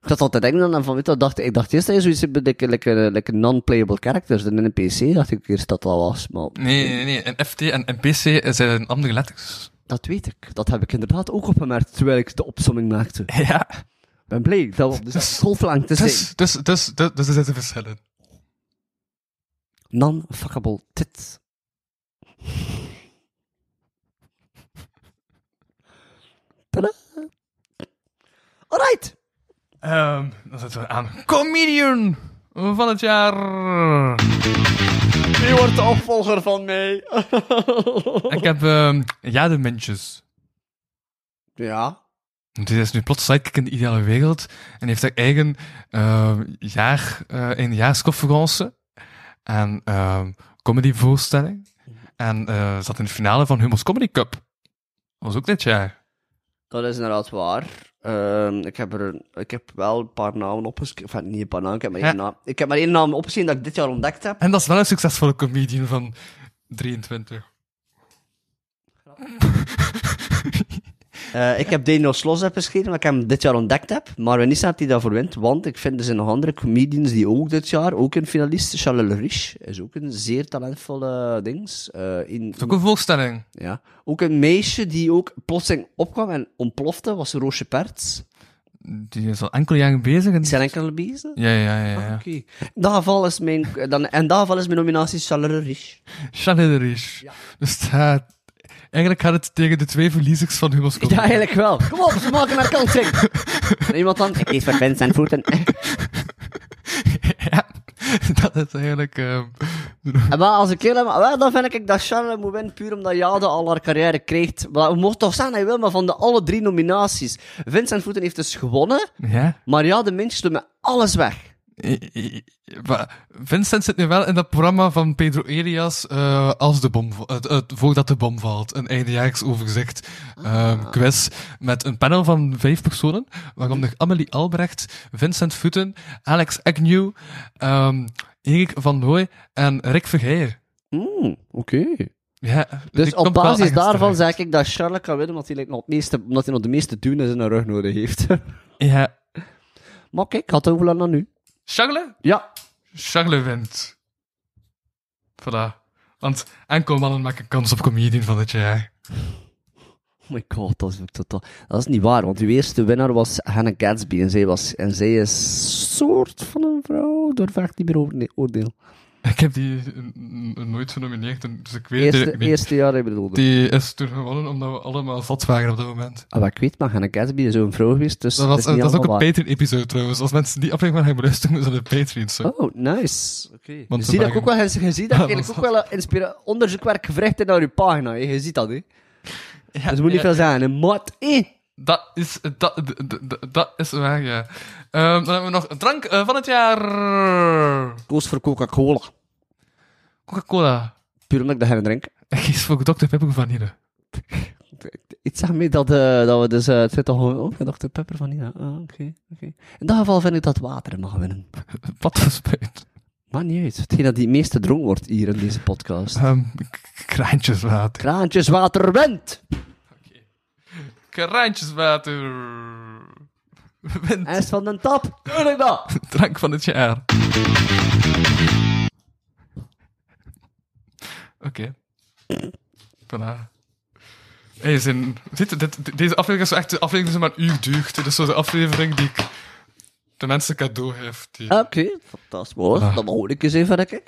B: Ik zat altijd denken dan van, weet je, wat, dacht, ik dacht eerst dat je zoiets hebt met like, like, like non-playable characters. En in een PC dacht ik eerst dat dat was, maar
C: Nee, nee, nee. NFT en NPC zijn andere letters.
B: dat weet ik. Dat heb ik inderdaad ook opgemerkt terwijl ik de opsomming maakte. Ik
C: Ja.
B: ben blij dat we op de schoolflank te zijn.
C: Dus, dus, dus, dus, dus er zitten verschillen.
B: Non-fuckable tits. Tada. Alright.
C: Ehm dan zitten we aan Comedian van het jaar.
B: Wie wordt de opvolger van mij?
C: Ik heb ehm Ja de Mintjes.
B: ja.
C: Die is nu plots sidekick in de ideale wereld. En heeft haar eigen ehm jaar, eh een jaarsconferentie. En ehm comedyvoorstelling. En eh zat in de finale van Hummels Comedy Cup. Dat was ook dit jaar.
B: Dat is inderdaad waar. Ehm, ik, heb er, ik heb wel een paar namen opgeschreven. Enfin, niet een paar namen, ik heb maar, één,
C: Ja.
B: naam. ik heb maar één naam opgeschreven dat ik dit jaar ontdekt heb.
C: En dat is wel een succesvolle comedian van 23.
B: Eh, ik heb Daniel Sloss geschreven, dat ik hem dit jaar ontdekt heb. Maar we niet staat hij daarvoor wint, want ik vind er zijn nog andere comedians die ook dit jaar, ook een finalist, Charles Lerich, is ook een zeer talentvolle dings. Eh, in,
C: Dat is ook een voorstelling.
B: ja. ook een meisje die ook plotseling opkwam en ontplofte, was Roosje Perts.
C: Die is al enkele jaren bezig. En...
B: Die zijn enkele beesten.
C: Ja, ja, ja.
B: Ah,
C: ja.
B: Oké. In dat geval is mijn, dan, in dat geval is mijn nominatie Charles Lerich.
C: Charlie de Ries. Dus daar- eigenlijk gaat het tegen de twee verliezers van Hummels komen.
B: Ja, eigenlijk wel. Kom op, ze maken naar kansing. En iemand dan, ik kies voor Vincent Voeten.
C: Ja, dat is eigenlijk... ehm,
B: En maar als ik heel maar dan vind ik dat Charlotte moet winnen puur omdat Jade al haar carrière kreeg. Maar we mocht toch zeggen hij wil, maar van de alle drie nominaties. Vincent Voeten heeft dus gewonnen,
C: ja.
B: maar Jade Mintjes doet met alles weg.
C: I- I- I- maar Vincent zit nu wel in dat programma van Pedro Elias eh, als de bom, va- het- het- voordat de bom valt. Een eindejaars overzicht
B: Ah.
C: ehm, quiz met een panel van vijf personen, waaronder Amelie Albrecht, Vincent Voeten, Alex Agnew, ehm, Erik van Looy en Rick Vergeijer.
B: Mm, oké.
C: Ja,
B: Dus
C: die
B: op
C: komt wel
B: basis
C: ergens
B: daarvan
C: terecht.
B: zeg ik dat Charlotte kan winnen, omdat hij, lijkt nog het meeste, omdat hij nog de meeste doen in zijn rug nodig heeft.
C: Ja.
B: maar kijk, had ook wel naar nu.
C: Charles?
B: Ja,
C: Charles wint. Voilà. Want enkel mannen maken kans op comedian van het jaar.
B: Oh my god, dat is ook totaal. Dat is niet waar, want uw eerste winnaar was Hannah Gatsby. En zij, was, en zij is soort van een vrouw. Daar vraag ik niet meer over nee, oordeel.
C: Ik heb die eh, n- nooit genomineerd, en- dus ik weet het
B: Eerste,
C: eigenlijk niet.
B: eerste jaar hebben we bedoelde.
C: Die is toen gewonnen omdat we allemaal zat waren op dat moment.
B: Ah, maar ik weet, maar Hannah Gatsby is zo'n vrouw geweest. Dus
C: Dat, was,
B: is niet
C: eh, dat is ook een
B: allemaal waar.
C: Patreon-episode trouwens. Als mensen die aflevering maar hebben beluisterd, moeten ze naar de Patreon zo.
B: Oh, nice. Oké.
C: Want
B: Zie
C: ze
B: dat ik ook wel,
C: maken-
B: je ziet dat
C: Ah,
B: ik eigenlijk
C: dat
B: ook wel een inspira- onderzoekwerk gevraagd heb naar uw pagina. hè. Je ziet dat, hè?
C: Ja,
B: Dat moet dus niet
C: ja,
B: veel zijn, hè? Mat, eh.
C: dat is, dat, d- d- d- dat is waar, ja. Ehm, dan hebben we nog drank eh, van het jaar.
B: Koos voor Coca-Cola.
C: Coca-Cola.
B: Puur omdat ik dat gaan drink.
C: Ik kies voor Dr. Pepper vanille.
B: Iets zegt mij dat, eh, dat we dus eh, het zit al ook een Dr. Pepper van ja. Ah, oké. oké. In dat geval vind ik dat water mag winnen.
C: Wat voor spijt.
B: Maar niet uit. Hetgeen dat die het meeste dronk wordt hier in deze podcast.
C: Ehm, k- kraantjeswater.
B: Kraantjeswater wint!
C: Kraantjeswater. Wint
B: IJs van den tap! Tuurlijk dat!
C: drank van het jaar. Oké. Voilà. Hey, zijn, dit, dit, dit- deze aflevering is echt de aflevering die maar een uur duurt. Dit is zo de aflevering die ik de mensen cadeau heeft. die-
B: Ah, Oké, fantastisch. Wow,
C: Ah.
B: Dat mag ik eens even, denk ik.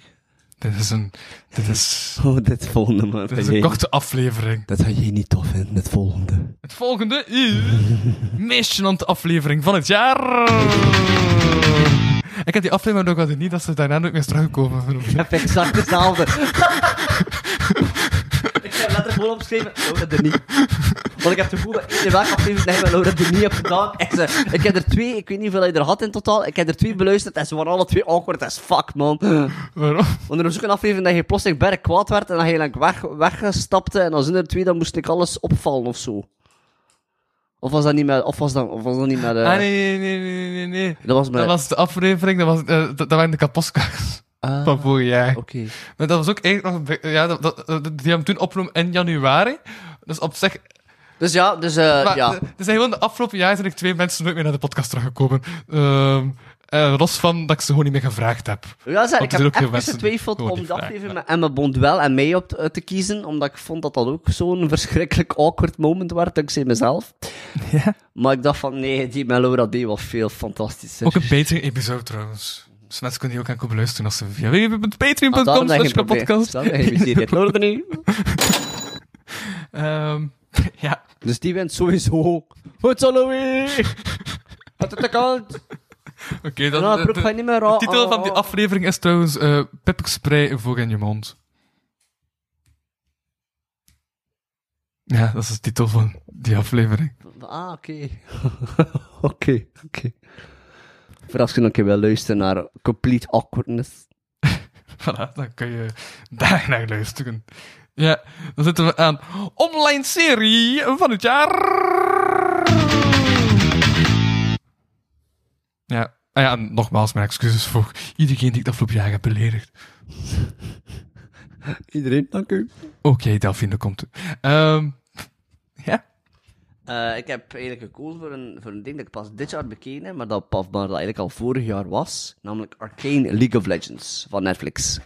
C: Dit is een, dit is,
B: Oh, dit volgende, man.
C: dit is een korte aflevering.
B: Dat ga je niet tof vinden, het volgende.
C: Het volgende is meest gênante aflevering van het jaar. Ik heb die aflevering ook altijd niet dat ze daarna nooit meer is teruggekomen.
B: Ik heb exact hetzelfde. ik heb letterlijk gewoon opgeschreven, Laura de niet. Want ik heb het gevoel dat in welke aflevering dat je met Laura de niet hebt gedaan. Ik, zeg, ik heb er twee, ik weet niet hoeveel je er had in totaal, ik heb er twee beluisterd en ze waren alle twee awkward as fuck, man.
C: Waarom?
B: Want er was ook een aflevering dat je plotseling berg kwaad werd en dat je lang weg, weggestapte en dan zijn er twee, dan moest ik alles opvallen of zo. Of was dat niet met, of was dat, of was dat niet met, eh,
C: Ah, nee, nee, nee, nee, nee, nee.
B: dat was met,
C: Dat was de aflevering, dat, was, eh, dat, dat waren de kaposkaks
B: Ah,
C: van vorig jaar.
B: oké.
C: Maar dat was ook eigenlijk nog... een be- Ja, dat, dat, dat- die hebben we toen opgenomen in januari. Dus op zich...
B: Dus ja, dus, eh,
C: Maar,
B: ja.
C: eh, Dus gewoon de afgelopen jaar zijn er twee mensen nooit meer naar de podcast teruggekomen. Ehm, eh, los van dat ik ze gewoon niet meer gevraagd heb.
B: Ja, zeg, ik
C: Want er zijn ook
B: heb
C: heel
B: even
C: mensen
B: getwijfeld
C: gewoon
B: om
C: die
B: dat
C: vragen,
B: even
C: maar-
B: met Emma Bondwell en mij op te, te kiezen, omdat ik vond dat dat ook zo'n verschrikkelijk awkward moment werd, dankzij mezelf.
C: Ja.
B: Maar ik dacht van, nee, die met Laura D. was veel fantastischer.
C: Ook een Patreon-episode trouwens. Dus mensen kunnen die ook aan komen beluisteren als ze via
B: Ah, daarom
C: www.patreon.com
B: dat je
C: slash
B: geen probleem-
C: podcast.
B: daarom dat je geen miserie hebt. Laura de Nieuw.
C: Ehm, ja.
B: Dus die wint sowieso. Goed zo, Louis! Wat op de kant!
C: Oké, dan...
B: Nou,
C: de-
B: de broek
C: de-
B: ga je niet meer Oh,
C: de
B: aan.
C: titel van die aflevering is trouwens eh Pepperspray voor in je mond. Ja, dat is de titel van die aflevering.
B: Ah, oké. Oké, oké. Voor als je nog een keer wil luisteren naar Complete Awkwardness.
C: Voilà, dan kun je daar naar luisteren. Ja, dan zitten we aan online serie van het jaar. Ja, ah ja en nogmaals mijn excuses voor iedereen die ik de afgelopen jaar heb beledigd.
B: Iedereen, dank u.
C: Ook jij, Delphine, dat komt. Ehm ja,
B: Eh, ik heb eigenlijk gekozen voor een, voor een ding dat ik pas dit jaar bekeken heb, maar dat, pas- maar dat eigenlijk al vorig jaar was. Namelijk Arcane League of Legends van Netflix.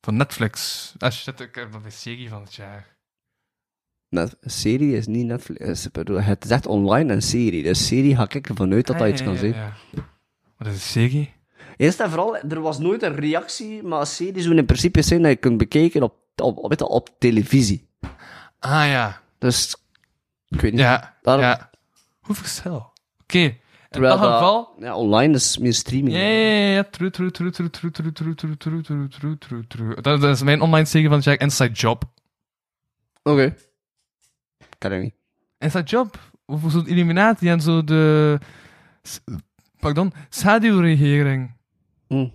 C: van Netflix. Ah shit, ik heb nog een serie van het jaar.
B: Net, een serie is niet Netflix. is- bedoel, Het is echt online een serie. Dus serie ga ik ervan uit dat dat
C: Ah,
B: iets
C: ja,
B: kan
C: ja,
B: zijn.
C: ja. Wat is een serie?
B: Eerst en vooral, er was nooit een reactie, maar series doen in principe zijn dat je kunt bekijken op, op, op, weet je, op televisie.
C: Ah ja.
B: Dus, ik weet niet.
C: Ja,
B: Daarom-
C: ja. Hoeveel cel? Oké, in
B: terwijl
C: dat geval...
B: Ja, online is meer streaming.
C: Ja, ja, ja, ja. True, true, true, true, true, true, true, true, true, true, true, true, true. Dat, dat is mijn online serie van Jack. Inside Job.
B: Oké. Kan ik niet.
C: Inside Job? Over zo'n Illuminati en zo de... s- Pardon, schaduwregering.
B: Hm.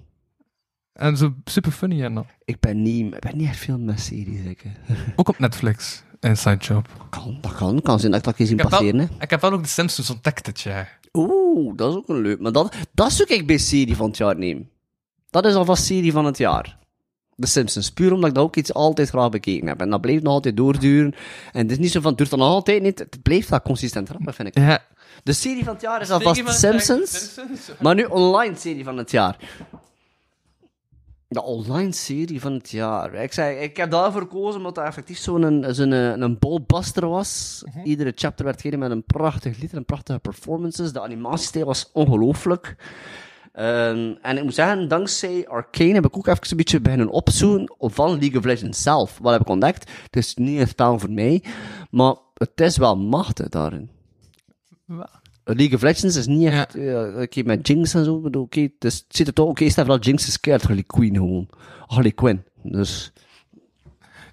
C: En zo super funny en dat.
B: Ik ben niet, ik ben niet echt veel met series, ik. hè.
C: Ook op Netflix, Inside Job.
B: Kan, dat kan. Kan zijn dat ik dat een keer zien
C: Ik heb, wel,
B: passeren, hè.
C: ik heb wel ook de Simpsons ontdekt dit jaar.
B: Oeh, dat is ook een leuk. Maar dat, dat zoek ik bij serie van het jaar nemen. Dat is alvast serie van het jaar. De Simpsons. Puur omdat ik dat ook iets altijd graag bekeken heb. En dat blijft nog altijd doorduren. En het is niet zo van, het duurt dan nog altijd niet. Het blijft dat consistent rappen, vind ik.
C: Ja.
B: De serie van het jaar is alvast de Simpsons. Maar nu online serie van het jaar. De online serie van het jaar. Ik, zei, ik heb daarvoor gekozen omdat dat effectief zo'n zo'n, eh, een bolbuster was. Iedere chapter werd gegeven met een prachtig lied en prachtige performances. De animatiestijl was ongelooflijk. Ehm, en ik moet zeggen, dankzij Arcane heb ik ook even een beetje beginnen opzoeken van League of Legends zelf. Wat heb ik ontdekt? Dus Het is niet een spel voor mij, maar het is wel machtig daarin. League of Legends is niet echt. eh, Oké, met Jinx en zo. bedoel, Oké, dus het zit er toch. Oké, staat vooral Jinx is keihard Harley Quinn gewoon. Harley Quinn. Dus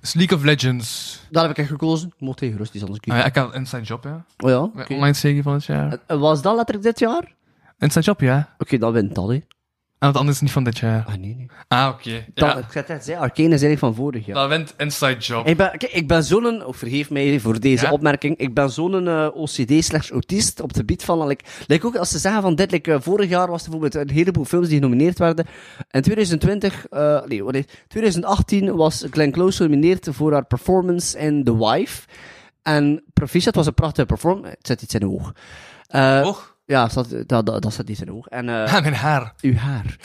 C: Dus League of Legends.
B: daar heb ik echt gekozen. Ik mocht tegen rustig anders
C: Ah
B: kijken.
C: ja, ik had Inside Job, ja.
B: Oh ja.
C: Mijn
B: oké.
C: Online serie van het jaar.
B: Eh, Was dat letterlijk dit jaar? Oké,
C: Inside Job, ja.
B: dan wint dat, hè?
C: En het andere is niet van dit jaar.
B: Ah, nee, nee.
C: Ah, oké.
B: Dan,
C: Ja.
B: Ik zei het net, zei, Arcane is eigenlijk van vorig jaar.
C: Dat wint Inside Job.
B: Ik ben, kijk, ik ben zo'n, oh, vergeef mij voor deze
C: Ja?
B: opmerking, ik ben zo'n eh, OCD slash autist op het gebied van, like, like ook als ze zeggen van dit, like, eh, vorig jaar was er bijvoorbeeld een heleboel films die genomineerd werden. En 2020, eh, nee, wat is- 2018 was Glenn Close genomineerd voor haar performance in The Wife. En proficiat was een prachtige performance. Het zit iets in de oog. Eh,
C: Oog?
B: Ja, dat, dat, dat, dat zit iets in de oog. En, eh,
C: Ah, mijn haar.
B: uw haar.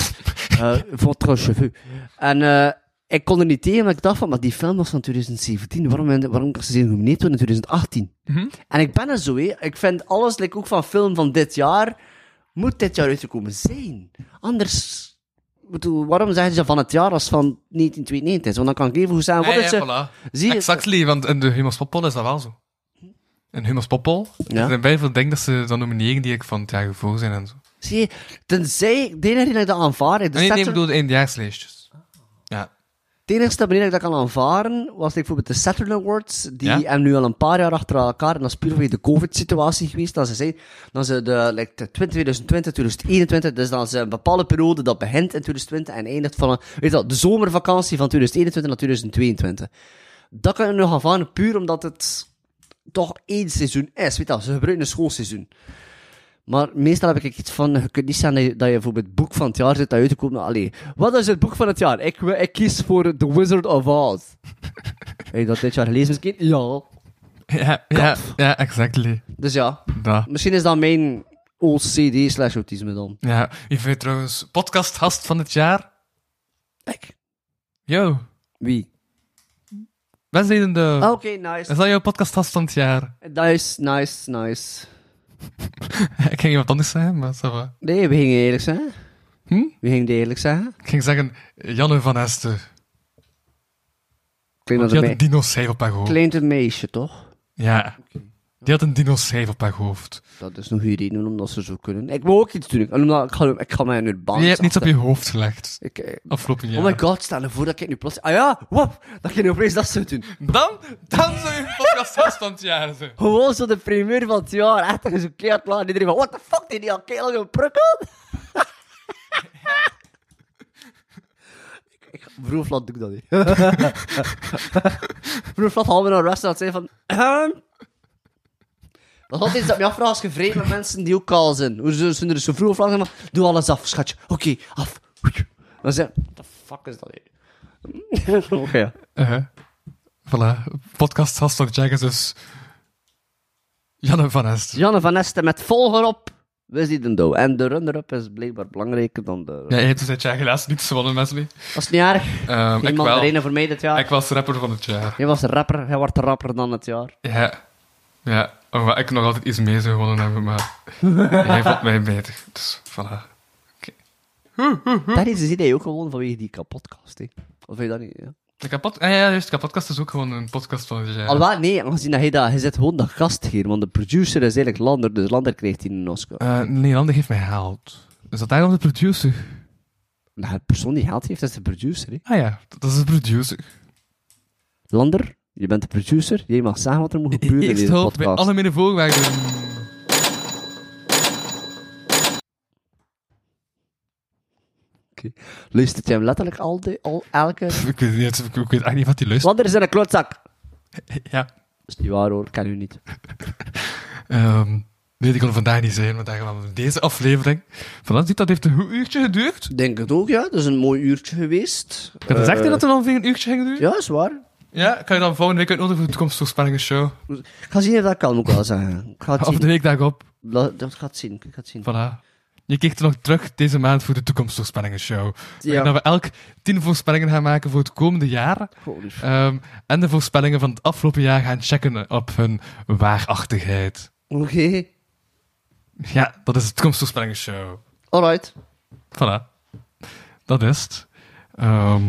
B: Eh, votre cheveux. En eh, Ik kon er niet tegen, maar ik dacht van, maar die film was van 2017. Waarom, waarom kan ze die genomineerd worden in 2018?
C: Mhm.
B: En ik ben er zo, hé. Ik vind alles, like, ook van film van dit jaar, moet dit jaar uitgekomen zijn. Anders... ik Bedoel, waarom zeggen ze van het jaar als van 1992 is? Want dan kan ik even goed zeggen, wat is er...
C: voilà.
B: eh, Zie je-
C: Exactly, want in de Humus Poppol is dat wel zo. In Humus Poppol
B: Ja.
C: er zijn bij veel dingen dat ze dan nomineren die ik van het jaar ervoor zijn en zo.
B: Zie je, tenzij, de enige die ik dat aanvaard, de
C: nee, nee, ik
B: Saturn-
C: bedoel de eindjaarslijstjes. Ja.
B: Het enige manier dat ik dat kan aanvaren was like, bijvoorbeeld de Saturn Awards. Die
C: Ja.
B: hebben nu al een paar jaar achter elkaar. En dat is puur vanwege de COVID-situatie geweest. Dat ze zei dat ze de, like, de 2020, 2021. Dus dat ze een bepaalde periode dat begint in 2020 en eindigt van een- weet je wel, de zomervakantie van 2021 naar 2022. Dat kan ik nog aanvaren puur omdat het toch één seizoen is. Weet je wel, ze gebruiken een schoolseizoen. Maar meestal heb ik iets van, je kunt niet zeggen dat je, dat je voor het boek van het jaar zit dat uit te komen. Allee, wat is het boek van het jaar? Ik, wi- ik kies voor The Wizard of Oz. Heb je dat dit jaar gelezen misschien? Ja.
C: Ja, ja, ja, exactly.
B: Dus ja,
C: Da.
B: misschien is dat mijn OCD slash autisme dan.
C: Ja. Wie vindt trouwens podcasthast van het jaar?
B: Ik?
C: Yo,
B: Wie?
C: Wesley de...
B: Oké,
C: de
B: nice.
C: Is dat jouw podcasthast van het jaar?
B: Nice, nice, nice.
C: ik ging iemand anders zeggen, maar ça va.
B: Nee, we gingen eerlijk zijn.
C: Hm?
B: We gingen eerlijk zeggen.
C: Ik ging zeggen, Janne van Hester.
B: Klinkt
C: Die
B: dat
C: had
B: een
C: een dino-schijf op haar hoofd.
B: Klinkt een meisje, toch?
C: Ja. Die had een dino-schijf op haar hoofd.
B: Oh, Dat is nog een reden omdat ze zo kunnen. Ik wil ook iets doen. En Omdat ik, ga, ik ga mij nu baan
C: Je hebt niets op je hoofd gelegd.
B: Ik,
C: Afgelopen jaar.
B: Oh my god, stel je voor dat ik nu plots... Ah ja, wap, dat ik nu opeens dat zou doen.
C: Dan, dan zou je podcasthast van het jaar zijn.
B: Gewoon zo de primeur van het jaar. Echt, dat is een keer klaar. Iedereen van, what the fuck, die die al keer lang geprukkel? Ik- ik ga- Broer Vlad, doe ik dat niet. Broer Vlad, halve naar rest en zei van... ehm. Dat is altijd iets dat ik me afvraag als je vreemd met mensen die ook kaal zijn. Hoe ze ze er zo vroeg vragen van, doe alles af, schatje. Oké, af. Dan zeg what the fuck is dat hier? Oké, ja.
C: Eh, voilà. Podcasthast van het jaar is dus... Janne van Hester.
B: Janne van Esten met volger op. We zien de dood. En de runner-up is blijkbaar belangrijker dan de...
C: Ja, je hebt dus dit jaar helaas niets gewonnen, Wesley.
B: Dat is niet erg.
C: Ehm ik
B: Iemand er
C: wel.
B: een voor mij dit jaar.
C: Ik was rapper van het jaar.
B: Jij was rapper. Hij wordt rapper dan het jaar.
C: Ja. Ja, omdat ik nog altijd iets mee zou gewonnen hebben, maar hij vond mij beter. Dus voilà.
B: Dat is de idee ook gewoon vanwege die kapotcast. Hè. Of vind je dat niet? Ja?
C: De kapot... Ah, ja, juist. De kapotkast is ook gewoon een podcast van het jaar.
B: Alhoewel, nee, aangezien dat hij dat... Hij zit gewoon de gastheer, want de producer is eigenlijk Lander, dus Lander krijgt hier een Oscar.
C: Eh, nee, Lander heeft mij gehaald. Is dat daarom de producer?
B: Nou, de persoon die geld heeft, is de producer. Hè.
C: Ah ja, dat is de producer.
B: Lander, je bent de producer. Jij mag zeggen wat er moet gebeuren in
C: Ik
B: deze
C: stop bij
B: podcast.
C: alle midden voorwaarden.
B: Luistert jij hem letterlijk al, de- al elke...
C: Pff, Ik weet, niet, ik, ik weet eigenlijk niet wat die luistert.
B: Lander is in een klootzak.
C: Ja.
B: Dat is niet waar hoor, ik ken u niet.
C: Ehm, nee, die kon er vandaag niet zijn, want daar gaan we met deze aflevering. Vanaf ziet dat heeft een goed uurtje geduurd.
B: Denk het ook, ja. Dat is een mooi uurtje geweest. Eh,
C: Ik had gezegd hè, dat er ongeveer een uurtje ging duren.
B: Ja, is waar.
C: Ja, kan je dan volgende week uitnodigen voor de toekomstvoorspellingen show.
B: Ik ga zien of dat kan ook wel zeggen. Ik ga het
C: Of de
B: zien.
C: week daarop.
B: La- Dat gaat zien. Ik ga het zien.
C: Voilà. Je kijkt er nog terug deze maand voor de toekomstvoorspellingen show.
B: Ja.
C: Dat we elk tien voorspellingen gaan maken voor het komende jaar.
B: Holy f-
C: Ehm, en de voorspellingen van het afgelopen jaar gaan checken op hun waarachtigheid.
B: Oké.
C: Ja, dat is de toekomstvoorspellingen show.
B: Alright.
C: Voilà. Dat is het. Ehm,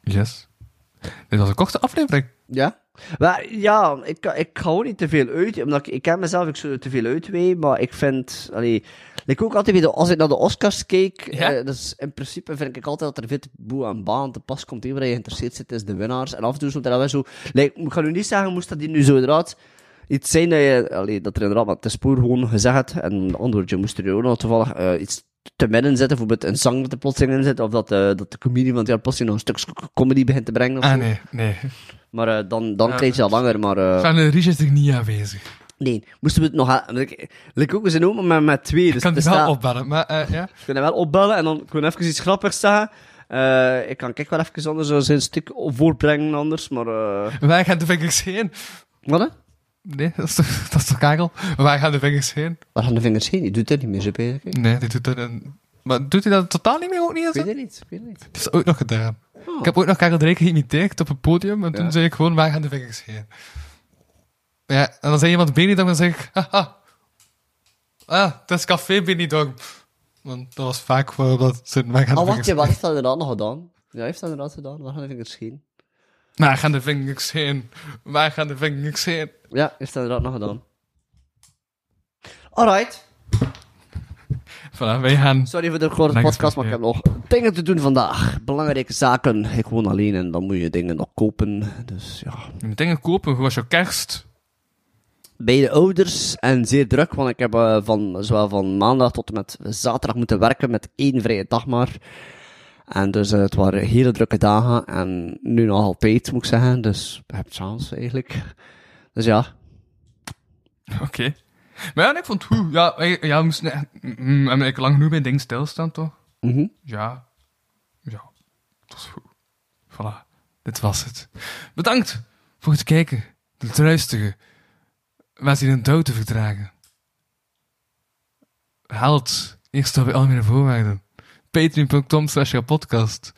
C: yes. Dit was een korte aflevering.
B: Ja. Maar ja, ik, ik hou niet te veel uit, omdat ik, ik ken mezelf, ik zou te veel uitwee, maar ik vind, allee, ik ook altijd weer, als ik naar de Oscars keek,
C: Ja?
B: eh, dus in principe vind ik altijd dat er veel te boe aan baan te pas komt, waar je geïnteresseerd zit, is de winnaars, en af en toe zo, dat wij zo, like, ik ga nu niet zeggen, moest dat die nu zo inderdaad iets zijn dat je, allee, dat er inderdaad, maar het is puur gewoon gezegd, en een antwoordje moest er ook nog toevallig eh, iets te midden zitten, bijvoorbeeld een zang dat er plotseling in zit, of dat, eh, dat de comedie van het jaar plotseling nog een stuk comedy begint te brengen. of
C: Ah,
B: zo.
C: nee, nee.
B: Maar eh, dan, dan
C: Ja, dus-
B: krijg je dat langer, maar... eh,
C: Van uh, is er niet aanwezig.
B: nee, moesten we het nog... ha- Like, like ook, we zijn ook maar met, met twee,
C: Ik
B: dus
C: kan
B: het
C: die
B: is
C: wel
B: daar-
C: opbellen, maar eh, ja.
B: we kunnen wel opbellen en dan kunnen we even iets grappigs zeggen. Eh, ik kan kijk wel even anders eh, zijn stuk voorbrengen anders, maar... eh,
C: Wij gaan de vingers heen.
B: Wat, hè?
C: Nee, dat is toch, dat is toch kagel? Wij gaan de vingers heen.
B: Waar gaan de vingers heen? Je doet dat niet meer, zo bezig. hè? Ik
C: Nee, die doet dat... in- Maar doet hij dat totaal niet meer ook niet? Is
B: weet
C: het?
B: het niet, ik weet het niet.
C: Dat is ooit nog gedaan. Ik heb ook nog Karel Drake geïmiteerd op een podium. En toen
B: Ja.
C: zei ik gewoon, waar gaan de vingers heen? Ja, en dan zei iemand Benidorm en dan zeg ik, haha. Ah, dat is café Benidorm. Want dat was vaak voor dat ze waar gaan de
B: Al wat,
C: vingers
B: Oh, je, Ah, wat
C: heen?
B: heeft dat inderdaad nog gedaan? Ja, heeft dat inderdaad gedaan. Waar gaan de vingers heen?
C: Waar gaan de vingers heen? Waar gaan de vingers heen?
B: Ja, heeft dat inderdaad nog gedaan. Alright.
C: Voilà, wij gaan...
B: Sorry voor de korte
C: Dank je,
B: podcast, maar ik heb
C: Frits,
B: nog dingen te doen vandaag. Belangrijke zaken. Ik woon alleen en dan moet je dingen nog kopen. Dus ja.
C: Je moet dingen kopen, hoe was jouw kerst?
B: Bij de ouders en zeer druk, want ik heb eh, van, zowel van maandag tot en met zaterdag moeten werken met één vrije dag maar. En dus eh, het waren hele drukke dagen en nu nog altijd moet ik zeggen, dus ik heb chance eigenlijk. Dus ja,
C: Oké. Maar ja, nee, ik vond het goed. Ja, wij- ja we moesten... echt- mm, mm, hebben eigenlijk lang genoeg bij ding stilstaan, toch?
B: Mhm.
C: Ja. Ja. Dat is goed. Voilà. Dit was het. Bedankt voor het kijken. Het luisteren. Was hier een dood te verdragen. Haalt. Eerst al bij algemene voorwaarden. Patreon.com slash jouw podcast.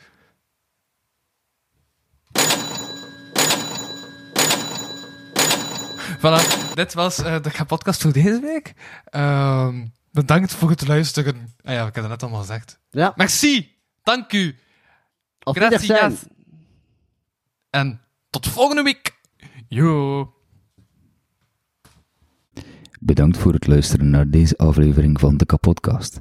C: Voilà, dit was eh, de Ga podcast voor deze week. Ehm, bedankt voor het luisteren. Ah ja, ik heb het net allemaal gezegd.
B: ja.
C: Merci, dank u
B: Op
C: Gracias.
B: Wiedersehen.
C: en tot volgende week. Yo.
G: Bedankt voor het luisteren naar deze aflevering van de Kapodcast.